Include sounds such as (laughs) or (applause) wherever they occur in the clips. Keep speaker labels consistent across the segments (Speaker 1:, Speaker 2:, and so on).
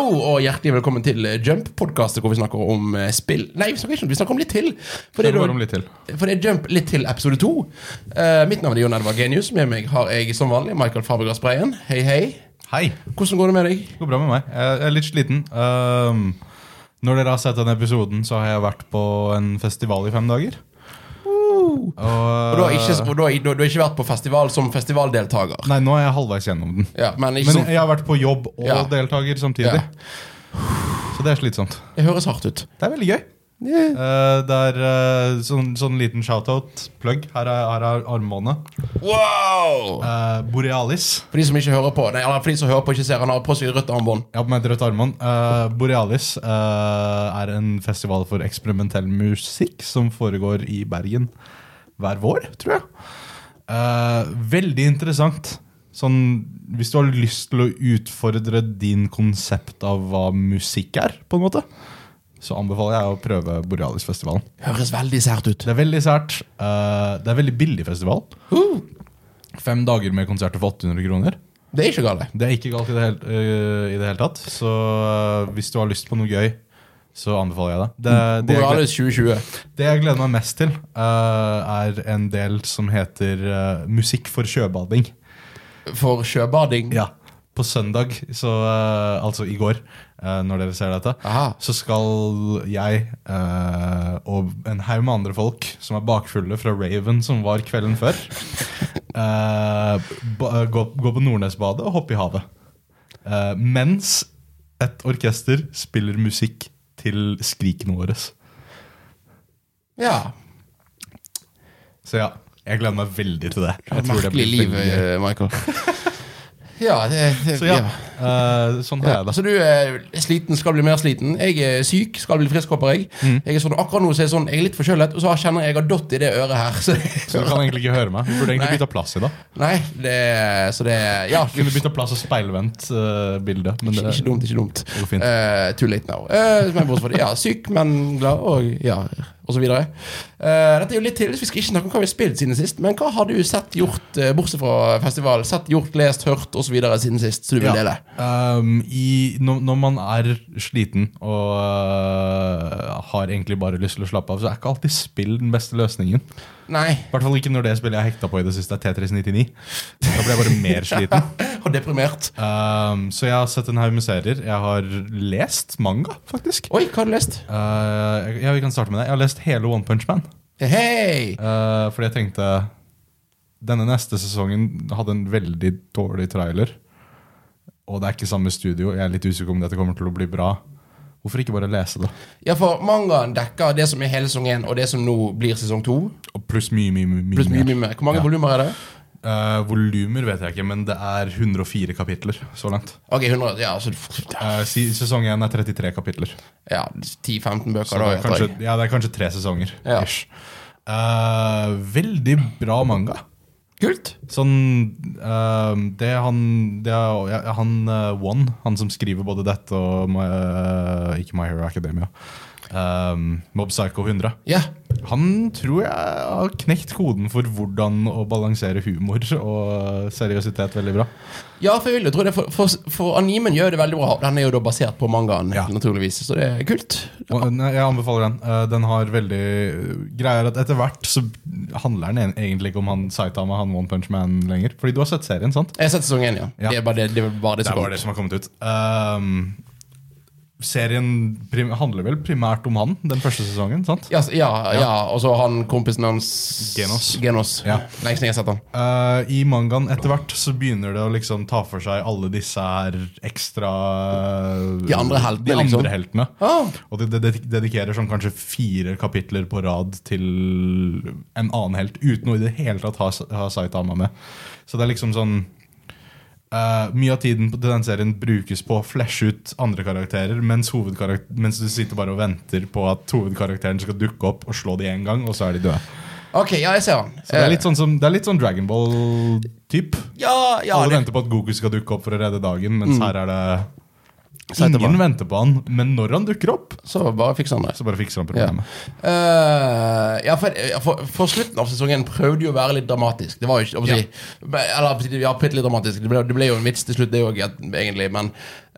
Speaker 1: og hjertelig velkommen til Jump-podkastet, hvor vi snakker om eh, spill Nei, vi snakker ikke om vi snakker om litt til. For
Speaker 2: Det
Speaker 1: det,
Speaker 2: går
Speaker 1: er
Speaker 2: om
Speaker 1: da-
Speaker 2: litt til.
Speaker 1: for det er Jump litt til episode to. Eh, mitt navn er Jon Edvard Genius. Med meg har jeg som vanlig Michael Fabergas Breien. Hei, hei.
Speaker 2: Hei!
Speaker 1: Hvordan går det med deg?
Speaker 2: Det går bra med meg. Jeg er litt sliten. Ehm, når dere har sett den episoden, så har jeg vært på en festival i fem dager.
Speaker 1: Uh. Og du har ikke, og du har, du har ikke vært på festival som festivaldeltaker.
Speaker 2: eh, Nei, nå er jeg halvveis gjennom den.
Speaker 1: Ja, men ikke
Speaker 2: Men
Speaker 1: sånn,
Speaker 2: jeg har vært på jobb og
Speaker 1: Ja.
Speaker 2: deltaker samtidig.
Speaker 1: Ja.
Speaker 2: Så det er slitsomt.
Speaker 1: det høres hardt ut.
Speaker 2: Det er veldig gøy. Eh, det er eh, sånn, sånn liten shout-out. Plugg. Her er, her er armbåndet.
Speaker 1: Wow!
Speaker 2: Eh, Borealis.
Speaker 1: For de som ikke hører på, nei, eller for de som hører på ikke ser, han har på seg rødt armbånd.
Speaker 2: Jeg har på meg et rødt armbånd. Eh, Borealis eh, er en festival for eksperimentell musikk som foregår i Bergen hver vår, tror jeg. Eh, veldig interessant. Sånn, hvis du har lyst til å utfordre din konsept av hva musikk er, på en måte, så anbefaler jeg å prøve Borealis-festivalen.
Speaker 1: Høres veldig sært ut.
Speaker 2: Det er veldig sært. eh, det er veldig billig festival.
Speaker 1: Uh,
Speaker 2: Fem dager med konserter for 800 kroner.
Speaker 1: det er ikke galt.
Speaker 2: Det er ikke galt i det, hele, øh, i det hele tatt. Så øh, hvis du har lyst på noe gøy, så anbefaler jeg det. Det,
Speaker 1: Mm.
Speaker 2: det, jeg, gleder,
Speaker 1: Borealis 2020.
Speaker 2: det jeg gleder meg mest til, øh, er en del som heter øh, Musikk for sjøbading.
Speaker 1: For sjøbading.
Speaker 2: Ja. På søndag, så, øh, altså i går, øh, når dere ser dette,
Speaker 1: Aha.
Speaker 2: så skal jeg øh, og en haug med andre folk som er bakfulle fra Raven, som var
Speaker 1: (laughs)
Speaker 2: kvelden før, øh, ba- gå, gå på Nordnesbadet og hoppe i havet. Eh, mens et orkester spiller musikk til skrikene våre. Så
Speaker 1: Ja.
Speaker 2: ja, jeg gleder meg veldig til det. Jeg tror det
Speaker 1: Merkelig
Speaker 2: blir
Speaker 1: liv,
Speaker 2: veldig gøy.
Speaker 1: eh, Michael. (laughs) Ja, det, det
Speaker 2: Så ja, eh, sånn har
Speaker 1: Ja,
Speaker 2: jeg det.
Speaker 1: så du er sliten, skal bli mer sliten. Jeg er syk, skal bli frisk, håper jeg.
Speaker 2: Mm.
Speaker 1: Jeg er sånn, akkurat nå så er jeg sånn, jeg er litt forkjølet, og så kjenner jeg jeg har dott i det øret her. Så det,
Speaker 2: (laughs) Så du kan egentlig ikke høre meg. Vi burde
Speaker 1: Nei.
Speaker 2: egentlig bytta plass i dag.
Speaker 1: nei, det, så det Ja,
Speaker 2: Kunne bytta plass og speilvendt uh, bildet. Men det,
Speaker 1: ikke dumt, ikke dumt.
Speaker 2: går fint.
Speaker 1: Eh, too late now. Eh, men bortsett fra det, ja, syk, men glad, og ja, og så videre. Eh, dette er jo litt til, så vi skal ikke snakke om hva vi har spilt siden sist, men hva har du sett, gjort, eh, bortsett fra festival, sett, gjort, lest, hørt, og så videre siden sist, så du vil dele?
Speaker 2: Ehm, i, når, når man er sliten og øh, har egentlig bare lyst til å slappe av, så er ikke alltid spill den beste løsningen. I
Speaker 1: Nei. (laughs)
Speaker 2: hvert fall ikke når det spillet jeg er hekta på i det siste, er T399. Da blir jeg bare
Speaker 1: (laughs)
Speaker 2: mer sliten.
Speaker 1: Og deprimert.
Speaker 2: Ehm, så jeg har sett en haug med serier. Jeg har lest manga, faktisk.
Speaker 1: Oi, hva har du lest?
Speaker 2: Eh, ja, vi kan starte med det. Jeg har lest hele One Punch Man.
Speaker 1: Hei!
Speaker 2: Eh, fordi jeg tenkte Denne neste sesongen hadde en veldig dårlig trailer. Og det er ikke samme studio. Jeg er litt usikker om dette kommer til å bli bra. Hvorfor ikke bare lese det?
Speaker 1: Ja, for mangaen dekker det som er hele sesong 1, og det som nå blir sesong 2.
Speaker 2: Og pluss mye, mye, mye,
Speaker 1: Pluss mye,
Speaker 2: mer.
Speaker 1: mye mer. Hvor mange
Speaker 2: Ja.
Speaker 1: volumer er det?
Speaker 2: Eh, volumer vet jeg ikke, men det er 104 kapitler så langt.
Speaker 1: Ok, 100 Ja, altså
Speaker 2: Eh, si, sesong 1 er 33 kapitler.
Speaker 1: ja, 10-15 bøker,
Speaker 2: Så
Speaker 1: da.
Speaker 2: det er
Speaker 1: heter
Speaker 2: kanskje,
Speaker 1: jeg.
Speaker 2: ja, det er kanskje tre sesonger.
Speaker 1: Ja.
Speaker 2: Ish. Eh, veldig bra manga.
Speaker 1: Kult!
Speaker 2: Sånn ehm, Det er han det er, ja, Han eh, One, han som skriver både dette og my, eh, Ikke My Hero Academia. ehm, Mob Psycho 100.
Speaker 1: Ja.
Speaker 2: Han tror jeg har knekt koden for hvordan å balansere humor og eh, seriøsitet veldig bra.
Speaker 1: ja, for jeg vil jo tro det. For, for, for animen gjør det veldig bra. Den er jo da basert på mangaen,
Speaker 2: Ja.
Speaker 1: naturligvis. Så det er kult.
Speaker 2: Og, eh, nei, jeg anbefaler den. Eh, Den har veldig Greier at etter hvert så handler den en- egentlig ikke om han Saitama, han One Punch Man lenger. Fordi du har sett serien, sant?
Speaker 1: Jeg har sett sesong 1, ja.
Speaker 2: Ja.
Speaker 1: Det er bare det, det, er bare det
Speaker 2: Det
Speaker 1: som
Speaker 2: er
Speaker 1: går.
Speaker 2: bare det som har kommet ut. Ehm, serien prim handler vel primært om han, den første sesongen. sant?
Speaker 1: Ja, s- ja, ja. Og så han kompisen hans
Speaker 2: Genos.
Speaker 1: Genos.
Speaker 2: Ja.
Speaker 1: Lenge siden jeg har sett han.
Speaker 2: Eh, I mangaen etter hvert så begynner det å liksom ta for seg alle disse her ekstra
Speaker 1: De andre heltene,
Speaker 2: de andre
Speaker 1: liksom.
Speaker 2: heltene.
Speaker 1: Ah.
Speaker 2: Og det, det det dedikerer sånn kanskje fire kapitler på rad til en annen helt, uten å i det hele tatt ha, ha Saitama med. Så det er liksom sånn eh, Mye av tiden på den serien brukes på å fleshe ut andre karakterer, mens, hovedkarak- mens du sitter bare og venter på at hovedkarakteren skal dukke opp og slå de en gang, og så er de døde.
Speaker 1: Ok, ja, jeg ser han.
Speaker 2: Så det
Speaker 1: Eh,
Speaker 2: er litt sånn, som, det er litt sånn Dragon Ball-typ.
Speaker 1: ja, ja,
Speaker 2: Alle
Speaker 1: det, Mm.
Speaker 2: venter på at Goku skal dukke opp for å redde dagen, mens her er det
Speaker 1: Saitama.
Speaker 2: Ingen venter på han, men når han dukker opp,
Speaker 1: så bare fikser han det.
Speaker 2: så bare fikser
Speaker 1: Ja.
Speaker 2: han problemet.
Speaker 1: Eh, ja, for, ja, for, for slutten av sesongen prøvde jo å være litt dramatisk. Det var jo ikke, om å si,
Speaker 2: Ja.
Speaker 1: men- Eller om å si, ja, bitte litt dramatisk. Det ble, det ble jo en vits til slutt, det òg, egentlig. Men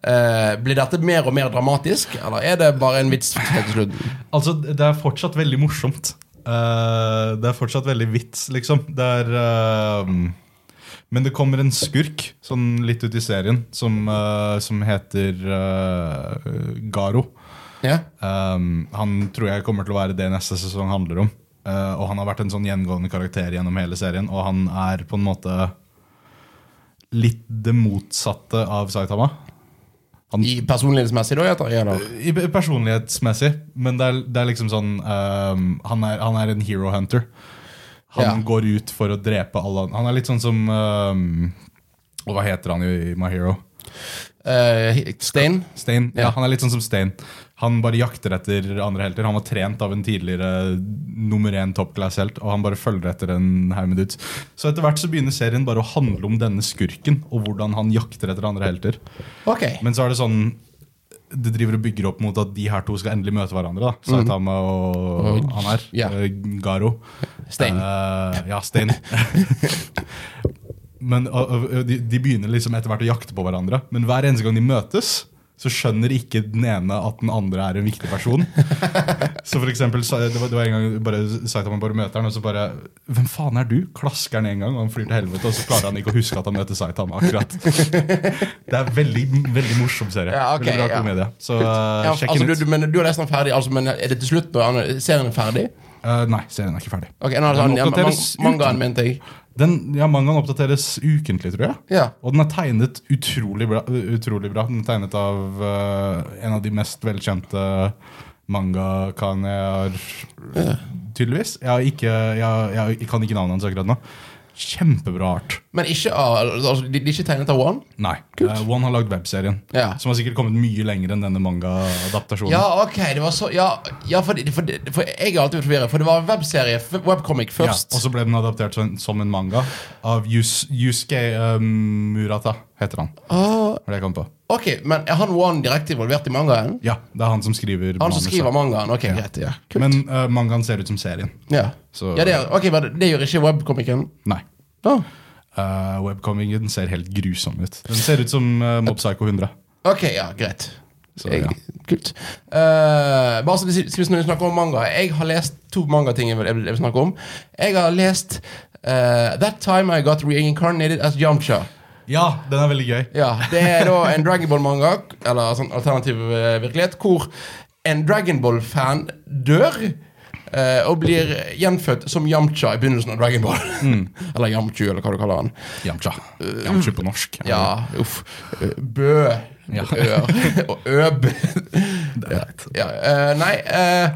Speaker 1: Eh, blir dette mer og mer dramatisk, eller er det bare en vits helt til slutten?
Speaker 2: Altså, det er fortsatt veldig morsomt. Eh, det er fortsatt veldig vits, liksom. Det er eh, Men det kommer en skurk sånn litt ut i serien som, eh, som heter eh, Garo.
Speaker 1: Ja?
Speaker 2: Um, han tror jeg kommer til å være det neste sesong handler om. Uh, og han har vært en sånn gjengående karakter gjennom hele serien, og han er på en måte litt det motsatte av Saitama.
Speaker 1: I personlighetsmessig, da? Heter, ja, da.
Speaker 2: I i personlighetsmessig, men det er, det er liksom sånn um, han, er, han er en hero hunter. Han
Speaker 1: Ja.
Speaker 2: går ut for å drepe alle Han er litt sånn som um, og Hva heter han i i My Hero?
Speaker 1: Eh, Stein?
Speaker 2: Stein. Ja.
Speaker 1: Ja.
Speaker 2: han er litt sånn som Stein. Han bare jakter etter andre helter. Han var trent av en tidligere nummer én toppklass-helt, og han bare følger etter en haug med dudes. Så etter hvert så begynner serien bare å handle om denne skurken, og hvordan han jakter etter andre helter.
Speaker 1: Ok.
Speaker 2: Men så er det sånn det driver og bygger opp mot at de her to skal endelig møte hverandre. da Saitama og han her.
Speaker 1: Mhm. Ja.
Speaker 2: eh, Garo.
Speaker 1: Stein.
Speaker 2: Eh, ja, Stein. (laughs) men og- og- de, de begynner liksom etter hvert å jakte på hverandre. Men hver eneste gang de møtes, så skjønner ikke den ene at den andre er en viktig person. så for eksempel, sa- det var, det var en gang bare, Saitama bare møter han, og så bare Hvem faen er du? Klasker han en gang, og han flyr til helvete, og så klarer han ikke å huske at han møter Saitama. akkurat Det er veldig, veldig morsom serie.
Speaker 1: Ja, ok,
Speaker 2: veldig bra
Speaker 1: ja.
Speaker 2: komedie. Så eh,
Speaker 1: Ja,
Speaker 2: sjekk
Speaker 1: altså,
Speaker 2: den
Speaker 1: du,
Speaker 2: ut.
Speaker 1: du, men, du er nesten ferdig, altså, men er det til slutt når han- serien er ferdig?
Speaker 2: Eh, nei, serien er ikke ferdig.
Speaker 1: Ok, nå er det
Speaker 2: Den
Speaker 1: sånn, ja, man,
Speaker 2: oppdateres
Speaker 1: Mangaen, mente jeg.
Speaker 2: Den, ja, Mangaen oppdateres ukentlig, tror jeg.
Speaker 1: Ja.
Speaker 2: Og den er tegnet utrolig bra. Utrolig bra. Den er tegnet av eh, en av de mest velkjente mangakaene jeg har Tydeligvis. Jeg, har ikke, jeg, har- jeg kan ikke navnet hans akkurat nå. Kjempebra art.
Speaker 1: Men ikke av altså, de, de er ikke tegnet av One?
Speaker 2: Nei. eh, One har lagd webserien,
Speaker 1: Ja.
Speaker 2: som har sikkert kommet mye lenger enn denne manga-adaptasjonen.
Speaker 1: Ja, ok, det var så Ja, ja for, for, for jeg har alltid vært forvirret, for det var en webserie, f- webcomic, først.
Speaker 2: Ja, og så ble den adaptert som, som en manga av Yus, Yusuke eh, Murata, heter han.
Speaker 1: Ah,
Speaker 2: Var det jeg kom på.
Speaker 1: ok, men er han One direkte involvert i mangaen?
Speaker 2: Ja, det er han som skriver
Speaker 1: Han som
Speaker 2: manuset.
Speaker 1: skriver mangaen? Ok, greit. Ja. Kult.
Speaker 2: Men eh, mangaen ser ut som serien.
Speaker 1: ja.
Speaker 2: Så-
Speaker 1: ja, det, er, ok, men det gjør ikke webcomicen?
Speaker 2: Nei.
Speaker 1: Ah,
Speaker 2: Uh, Webcomingen ser helt grusom ut. Den ser ut som eh, Mob Psycho 100.
Speaker 1: ok, ja, greit.
Speaker 2: Så,
Speaker 1: jeg,
Speaker 2: ja.
Speaker 1: Kult. Eh, bare så det sies når vi snakker om manga Jeg har lest to mangating jeg, vil- jeg vil snakke om. Jeg har lest eh, That Time I Got Reincarnated As Yamcha.
Speaker 2: Ja, den er veldig gøy.
Speaker 1: Ja, Det er da en Dragonball-manga, eller sånn alternativ eh, virkelighet, hvor en Dragonball-fan dør. eh, og blir gjenfødt som Yamcha i begynnelsen av Dragonball.
Speaker 2: Mm.
Speaker 1: (laughs) eller Yamchu, eller hva du kaller han.
Speaker 2: Yamcha. Eh, Yamcha på norsk.
Speaker 1: Ja, uff. Eh, Bø.
Speaker 2: Ja.
Speaker 1: Ør. (laughs) Og øb.
Speaker 2: Det er rett.
Speaker 1: Ja, eh, nei eh,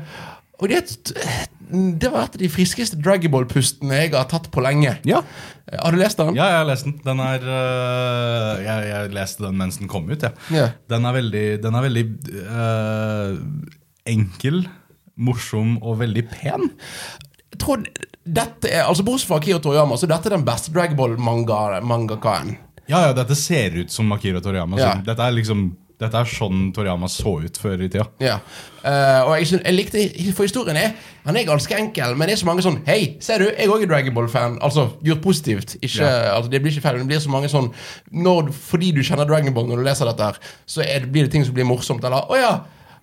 Speaker 1: Og det, er et- det var et av de friskeste Dragonball-pustene jeg har tatt på lenge.
Speaker 2: Ja.
Speaker 1: Eh, Har du lest den?
Speaker 2: ja, jeg har lest den. Den er eh, jeg, jeg leste den mens den kom ut, jeg.
Speaker 1: Ja.
Speaker 2: Den er veldig, den er veldig eh, enkel, morsom og veldig pen.
Speaker 1: Jeg tror dette er, altså Bortsett fra Akira Toriyama, så dette er den beste dragball-mangakaen.
Speaker 2: Ja, ja, dette ser ut som Akira Toriyama.
Speaker 1: Ja.
Speaker 2: Så dette, er liksom, dette er sånn Toriyama så ut før i tida.
Speaker 1: Ja. Eh, og jeg, syn- jeg likte For historien er Han er ganske enkel, men det er så mange sånn Hei, ser du, jeg òg er Dragonball-fan. Altså, gjort positivt. Ikke,
Speaker 2: Ja.
Speaker 1: altså, det blir ikke feil. men Det blir så mange sånn når, Fordi du kjenner Dragonball når du leser dette, her så er, det- blir det ting som blir morsomt. Eller å ja!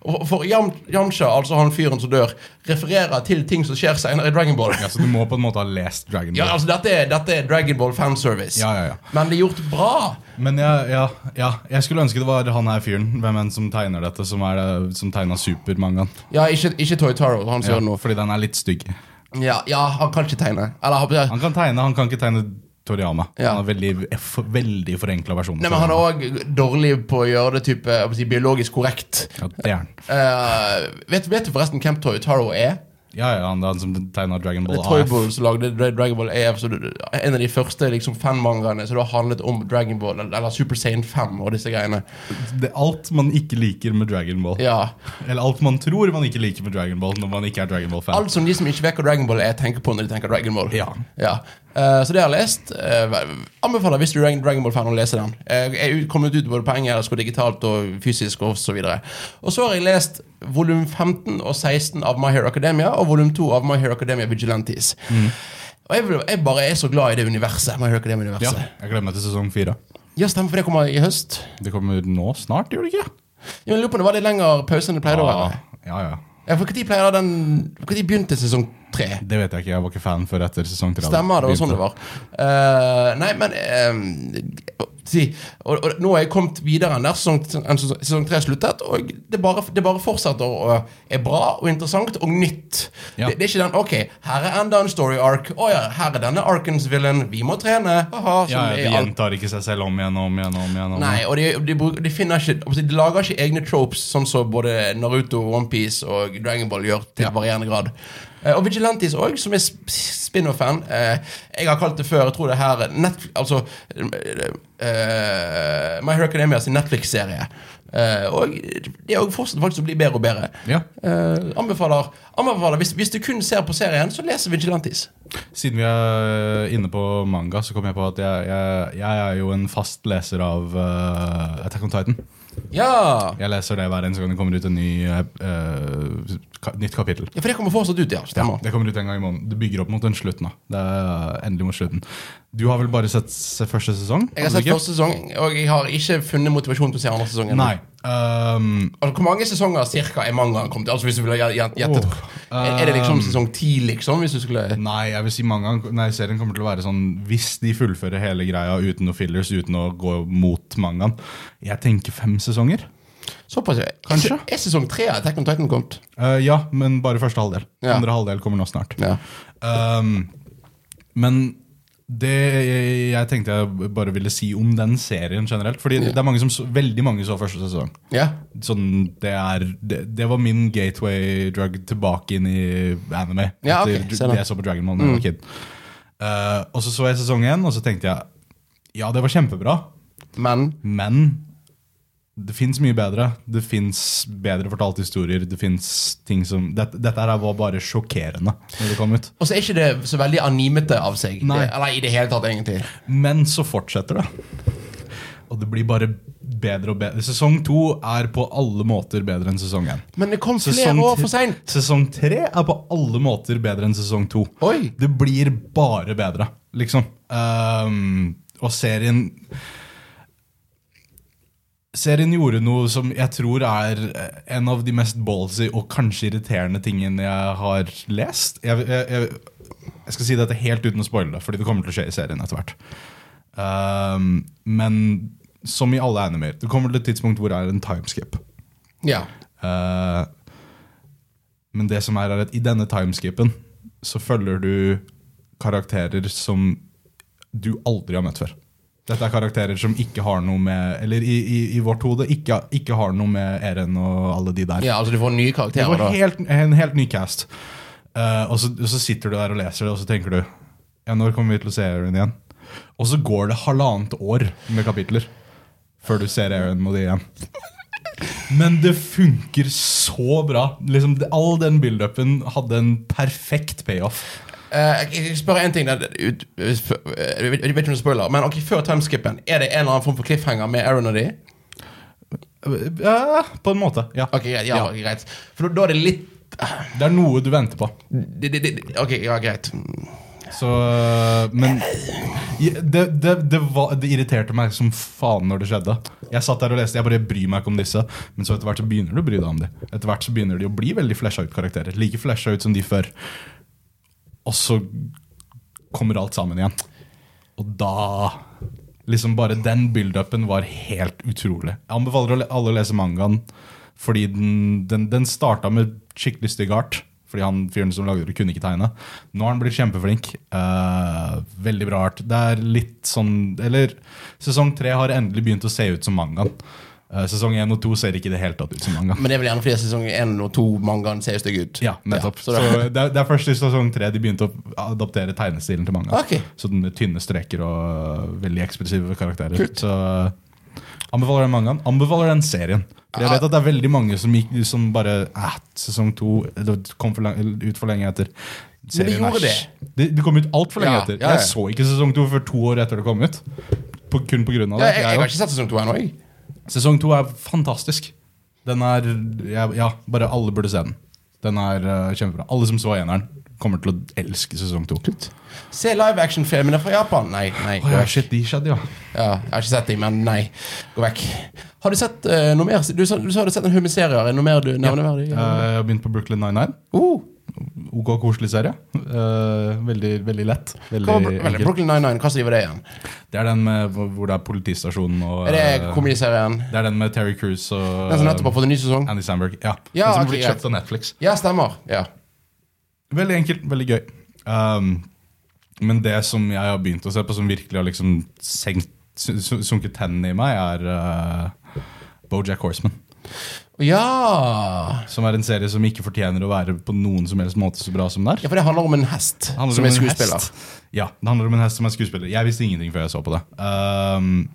Speaker 1: og For Yam, Yamcha, altså han fyren som dør, refererer til ting som skjer seinere i Dragonball.
Speaker 2: Ja, så du må på en måte ha lest Dragon
Speaker 1: Ja,
Speaker 2: Ball.
Speaker 1: altså, dette er, dette er Dragonball fanservice.
Speaker 2: Ja, ja, ja.
Speaker 1: Men det er gjort bra.
Speaker 2: Men ja, ja, ja, jeg skulle ønske det var han her fyren, hvem enn som tegner dette, som, er, det- som tegna supermangaen.
Speaker 1: Ja, ikke, ikke Toy Taro. Han som
Speaker 2: Ja,
Speaker 1: gjør det nå.
Speaker 2: fordi den er litt stygg.
Speaker 1: Ja, ja, han kan ikke tegne. Eller, han,
Speaker 2: Han kan tegne, han kan ikke tegne Toriyama.
Speaker 1: Ja.
Speaker 2: Han er veldig, f- veldig forenkla versjon. av
Speaker 1: nei, men han er
Speaker 2: Toriyama.
Speaker 1: òg dårlig på å gjøre det type, jeg vil si, biologisk korrekt.
Speaker 2: Ja, det er han.
Speaker 1: Eh, vet, vet du forresten hvem Toy Taro er?
Speaker 2: Ja, ja, han, han som tegna Dragon
Speaker 1: Det
Speaker 2: Ball
Speaker 1: er Toy
Speaker 2: AF.
Speaker 1: Ball som lagde Dra- Dragon Ball AF. Så det, en av de første liksom, fanmangaene som da handlet om Dragon Ball, eller- eller Super Saiyan 5 og disse greiene.
Speaker 2: Det er alt man ikke liker med Dragon Ball.
Speaker 1: Ja,
Speaker 2: Eller alt man tror man ikke liker med Dragon Ball når man ikke er Dragon Ball-fan.
Speaker 1: Alt som de som ikke vet hva Dragon Ball er, tenker på når de tenker Dragon Ball.
Speaker 2: Ja.
Speaker 1: Eh, så det har jeg lest. Eh, anbefaler hvis du er en Dragon Ball-fan å lese den. Eh, jeg er ut- kommet ut både på engelsk og digitalt og fysisk og så videre. Og så har jeg lest volum 15 og 16 av My Hero Academia og volum 2 av My Hero Academia Vigilantes. Og jeg, vil- jeg bare er så glad i det universet. My Hero
Speaker 2: Ja,
Speaker 1: Academia-universet.
Speaker 2: jeg gleder meg til sesong fire.
Speaker 1: Ja, stemmer, for det kommer i høst.
Speaker 2: Det kommer nå snart, gjør det ikke?
Speaker 1: Ja, men Jeg lurer på om det var litt lengre pause enn det pleide å
Speaker 2: Ah.
Speaker 1: være.
Speaker 2: ja, ja.
Speaker 1: Ja, for Når pleier den Når begynte sesong tre?
Speaker 2: Det vet jeg ikke. Jeg var ikke fan før etter sesong tre.
Speaker 1: Stemmer, det var sånn det var. Eh, nei, men eh, si, og, og Nå har jeg kommet videre enn der sesong, enn sesong sesong tre sluttet, og det bare, det bare fortsetter å er bra og interessant og nytt.
Speaker 2: Ja.
Speaker 1: Det, det er ikke den 'OK, her er enda en story arc'. 'Å ja, her er denne arkens villain. Vi må trene'. Haha, som
Speaker 2: Ja,
Speaker 1: det
Speaker 2: ja,
Speaker 1: er i
Speaker 2: de
Speaker 1: alt.
Speaker 2: gjentar ikke seg selv om igjen og om igjen. og om igjen. og om
Speaker 1: Nei,
Speaker 2: igjen.
Speaker 1: og de, de, bruk- de finner ikke altså, De lager ikke egne tropes, sånn som både Naruto, Onepiece og Dragon Ball gjør. Til
Speaker 2: Ja.
Speaker 1: varierende grad Eh, Og Vigilantis òg, som er sp- spin-off-fan. Eh, jeg har kalt det før. Jeg tror det her Netf Altså eh, My Hero Academia sin Netflix-serie. Eh, og det er også fortsatt faktisk å bli bedre og bedre.
Speaker 2: Ja.
Speaker 1: Eh, anbefaler, anbefaler hvis, hvis du kun ser på serien, så leser Vigilantis.
Speaker 2: Siden vi er inne på manga, så kom jeg på at jeg, jeg, jeg er jo en fast leser av eh, Attack on Titan.
Speaker 1: Ja!
Speaker 2: Jeg leser det hver eneste gang det kommer ut en ny, eh, ka nytt kapittel.
Speaker 1: ja! For det kommer fortsatt ut, ja. Stemmer.
Speaker 2: Det kommer ut en gang i måneden. Det bygger opp mot den slutten. da. Det er endelig mot slutten. Du har vel bare sett se- første sesong?
Speaker 1: Jeg har
Speaker 2: du
Speaker 1: sett
Speaker 2: ikke?
Speaker 1: første sesong, og jeg har ikke funnet motivasjon til å se andre sesongen.
Speaker 2: Nei. ehm,
Speaker 1: Altså, hvor mange sesonger cirka er mangaen kommet? Altså, hvis du ville gjet- gjet- gjettet
Speaker 2: Åh,
Speaker 1: Er er det liksom sesong ti, liksom? Hvis du skulle
Speaker 2: nei, jeg vil si manga, nei, serien kommer til å være sånn Hvis de fullfører hele greia uten noe fillers, uten å gå mot mangaen Jeg tenker fem sesonger.
Speaker 1: Såpass, ja.
Speaker 2: Kanskje.
Speaker 1: Er sesong tre av Attack on Titan kommet?
Speaker 2: Eh, ja, men bare første halvdel.
Speaker 1: Ja.
Speaker 2: Andre halvdel kommer nå snart.
Speaker 1: Ja.
Speaker 2: Ehm, men det jeg tenkte jeg bare ville si om den serien generelt. Fordi det er mange som, så- veldig mange så første sesong.
Speaker 1: ja.
Speaker 2: sånn, det, er, det, det var min gateway drug tilbake inn i anime.
Speaker 1: Ja, ok,
Speaker 2: etter
Speaker 1: ser Mm. det.
Speaker 2: det jeg så på Dragon Ball da jeg var kid. Eh, og så så jeg sesong én, og så tenkte jeg ja, det var kjempebra,
Speaker 1: Men
Speaker 2: men det fins mye bedre. Det fins bedre fortalte historier. Det finnes ting som Dette, dette her var bare sjokkerende når det kom ut.
Speaker 1: Og så er ikke det så veldig animete av seg.
Speaker 2: Nei.
Speaker 1: Det, eller i det hele tatt, egentlig.
Speaker 2: Men så fortsetter det. Og det blir bare bedre og bedre. Sesong to er på alle måter bedre enn sesong én.
Speaker 1: Men det kom flere
Speaker 2: Sesong
Speaker 1: år
Speaker 2: tre-
Speaker 1: for seint.
Speaker 2: Sesong tre er på alle måter bedre enn sesong to.
Speaker 1: Oi.
Speaker 2: Det blir bare bedre, liksom. Ehm, og serien Serien gjorde noe som jeg tror er eh, en av de mest ballsy og kanskje irriterende tingene jeg har lest. Jeg, jeg, jeg, jeg skal si dette helt uten å spoile det, fordi det kommer til å skje i serien etter hvert. Ehm, men som i alle animer, det kommer til et tidspunkt hvor det er en timeskip.
Speaker 1: Ja.
Speaker 2: Eh, men det som er, er at i denne timeskipen så følger du karakterer som du aldri har møtt før. Dette er karakterer som ikke har noe med Eller i, i, i vårt hode ikke, ikke har noe med Eren og alle de der.
Speaker 1: ja, altså du får nye
Speaker 2: det
Speaker 1: karakterer
Speaker 2: var
Speaker 1: da.
Speaker 2: helt, en helt ny cast. Eh, og, så, og så sitter du der og leser det, og så tenker du Ja, når kommer vi til å se Eren igjen? Og så går det halvannet år med kapitler før du ser Eren og de igjen. Men det funker så bra. Liksom, det- all den build-upen hadde en perfekt payoff.
Speaker 1: Eh, jeg- jeg spør en ting der, ut, ut, eh, Jeg vet jeg vet ikke om det er spoiler, men ok, før timeskippen, er det en eller annen form for cliffhanger med Aaron og de?
Speaker 2: Ja, på en måte. Ja.
Speaker 1: Ok, greit, ja, greit. For da, da er det litt
Speaker 2: Det er noe du venter på.
Speaker 1: det, det, det, Ok, ja, greit.
Speaker 2: Så, men det, det, det, var, det irriterte meg som faen når det skjedde. Jeg satt der og leste, jeg bare bryr meg ikke om disse. Men så etter hvert så begynner du å bry deg om dem. Etter hvert så begynner de å bli veldig flasha ut karakterer. Like flasha ut som de før. Og så kommer alt sammen igjen. Og da Liksom Bare den build-upen var helt utrolig. Jeg anbefaler å le- alle å lese mangaen, fordi den, den, den starta med skikkelig stygg art. Fordi han fyren som lagde det, kunne ikke tegne. Nå har han blitt kjempeflink. Eh, veldig bra art. Det er litt sånn Eller sesong tre har endelig begynt å se ut som mangaen. Eh, sesong én og to ser ikke i det hele tatt ut som mangaen.
Speaker 1: Men det er vel gjerne fordi sesong 1 og 2 mangaen ser stygg ut.
Speaker 2: Ja, nettopp.
Speaker 1: så
Speaker 2: så
Speaker 1: da-
Speaker 2: det, er, det er først i sesong tre de begynte å adoptere tegnestilen til mange.
Speaker 1: Ok.
Speaker 2: Så den med tynne streker og øh, veldig ekspressive karakterer. Så øh, anbefaler den mangaen. Anbefaler den serien. For jeg vet at det er veldig mange som, gikk, som bare eh, Sesong to det kom for lang, ut for lenge etter.
Speaker 1: Men det
Speaker 2: Serien er
Speaker 1: gjorde
Speaker 2: sj- Det, det kom ut altfor lenge
Speaker 1: Ja,
Speaker 2: etter.
Speaker 1: ja, ja.
Speaker 2: Jeg så ikke sesong to før to år etter det kom ut. På, kun på grunn av
Speaker 1: ja,
Speaker 2: det.
Speaker 1: jeg, jeg
Speaker 2: Jeg
Speaker 1: har
Speaker 2: også.
Speaker 1: ikke sett sesong 2 ennå, jeg.
Speaker 2: Sesong to er fantastisk. Den er ja, ja, bare alle burde se den. Den er eh, kjempebra. Alle som så eneren, kommer til å elske sesong to. Å,
Speaker 1: Se live action-filmene fra Japan. Nei, nei. gå
Speaker 2: ja,
Speaker 1: vekk.
Speaker 2: shit, de skjedde, ja.
Speaker 1: Ja, jeg har ikke sett dem, men nei. Gå vekk. Har du sett eh, noe mer? Du sa du, sa du hadde sett en humiserier. Er det noe mer du nevneverdig?
Speaker 2: Eh, jeg har begynt på Brooklyn Nine-Nine.
Speaker 1: Uh,
Speaker 2: OK, koselig serie. Eh, veldig, veldig lett.
Speaker 1: hva var
Speaker 2: Veldig
Speaker 1: Bro- vel,
Speaker 2: enkelt.
Speaker 1: Brooklyn Nine-Nine, hva sier det igjen?
Speaker 2: Det er den med, hvor hvor det er politistasjonen og
Speaker 1: Er det
Speaker 2: eh,
Speaker 1: komediserien?
Speaker 2: Det er den med Terry Crews og
Speaker 1: Den som nettopp har fått en ny sesong?
Speaker 2: Andy Sandberg. Ja.
Speaker 1: Ja,
Speaker 2: den som
Speaker 1: ok,
Speaker 2: ble
Speaker 1: greit.
Speaker 2: kjøpt av Netflix.
Speaker 1: Ja, stemmer. Ja.
Speaker 2: Veldig enkelt, veldig gøy. Um, men det som jeg har begynt å se på, som virkelig har liksom senkt, su- su- sunket tennene i meg, er uh, Bojack Horseman.
Speaker 1: ja.
Speaker 2: Som er en serie som ikke fortjener å være på noen som helst måte så bra som den er.
Speaker 1: Ja, for det handler om en hest
Speaker 2: Det handler
Speaker 1: som
Speaker 2: om
Speaker 1: er
Speaker 2: en
Speaker 1: skuespiller.
Speaker 2: hest. Ja, det handler om en hest som er skuespiller. Jeg visste ingenting før jeg så på det. Um,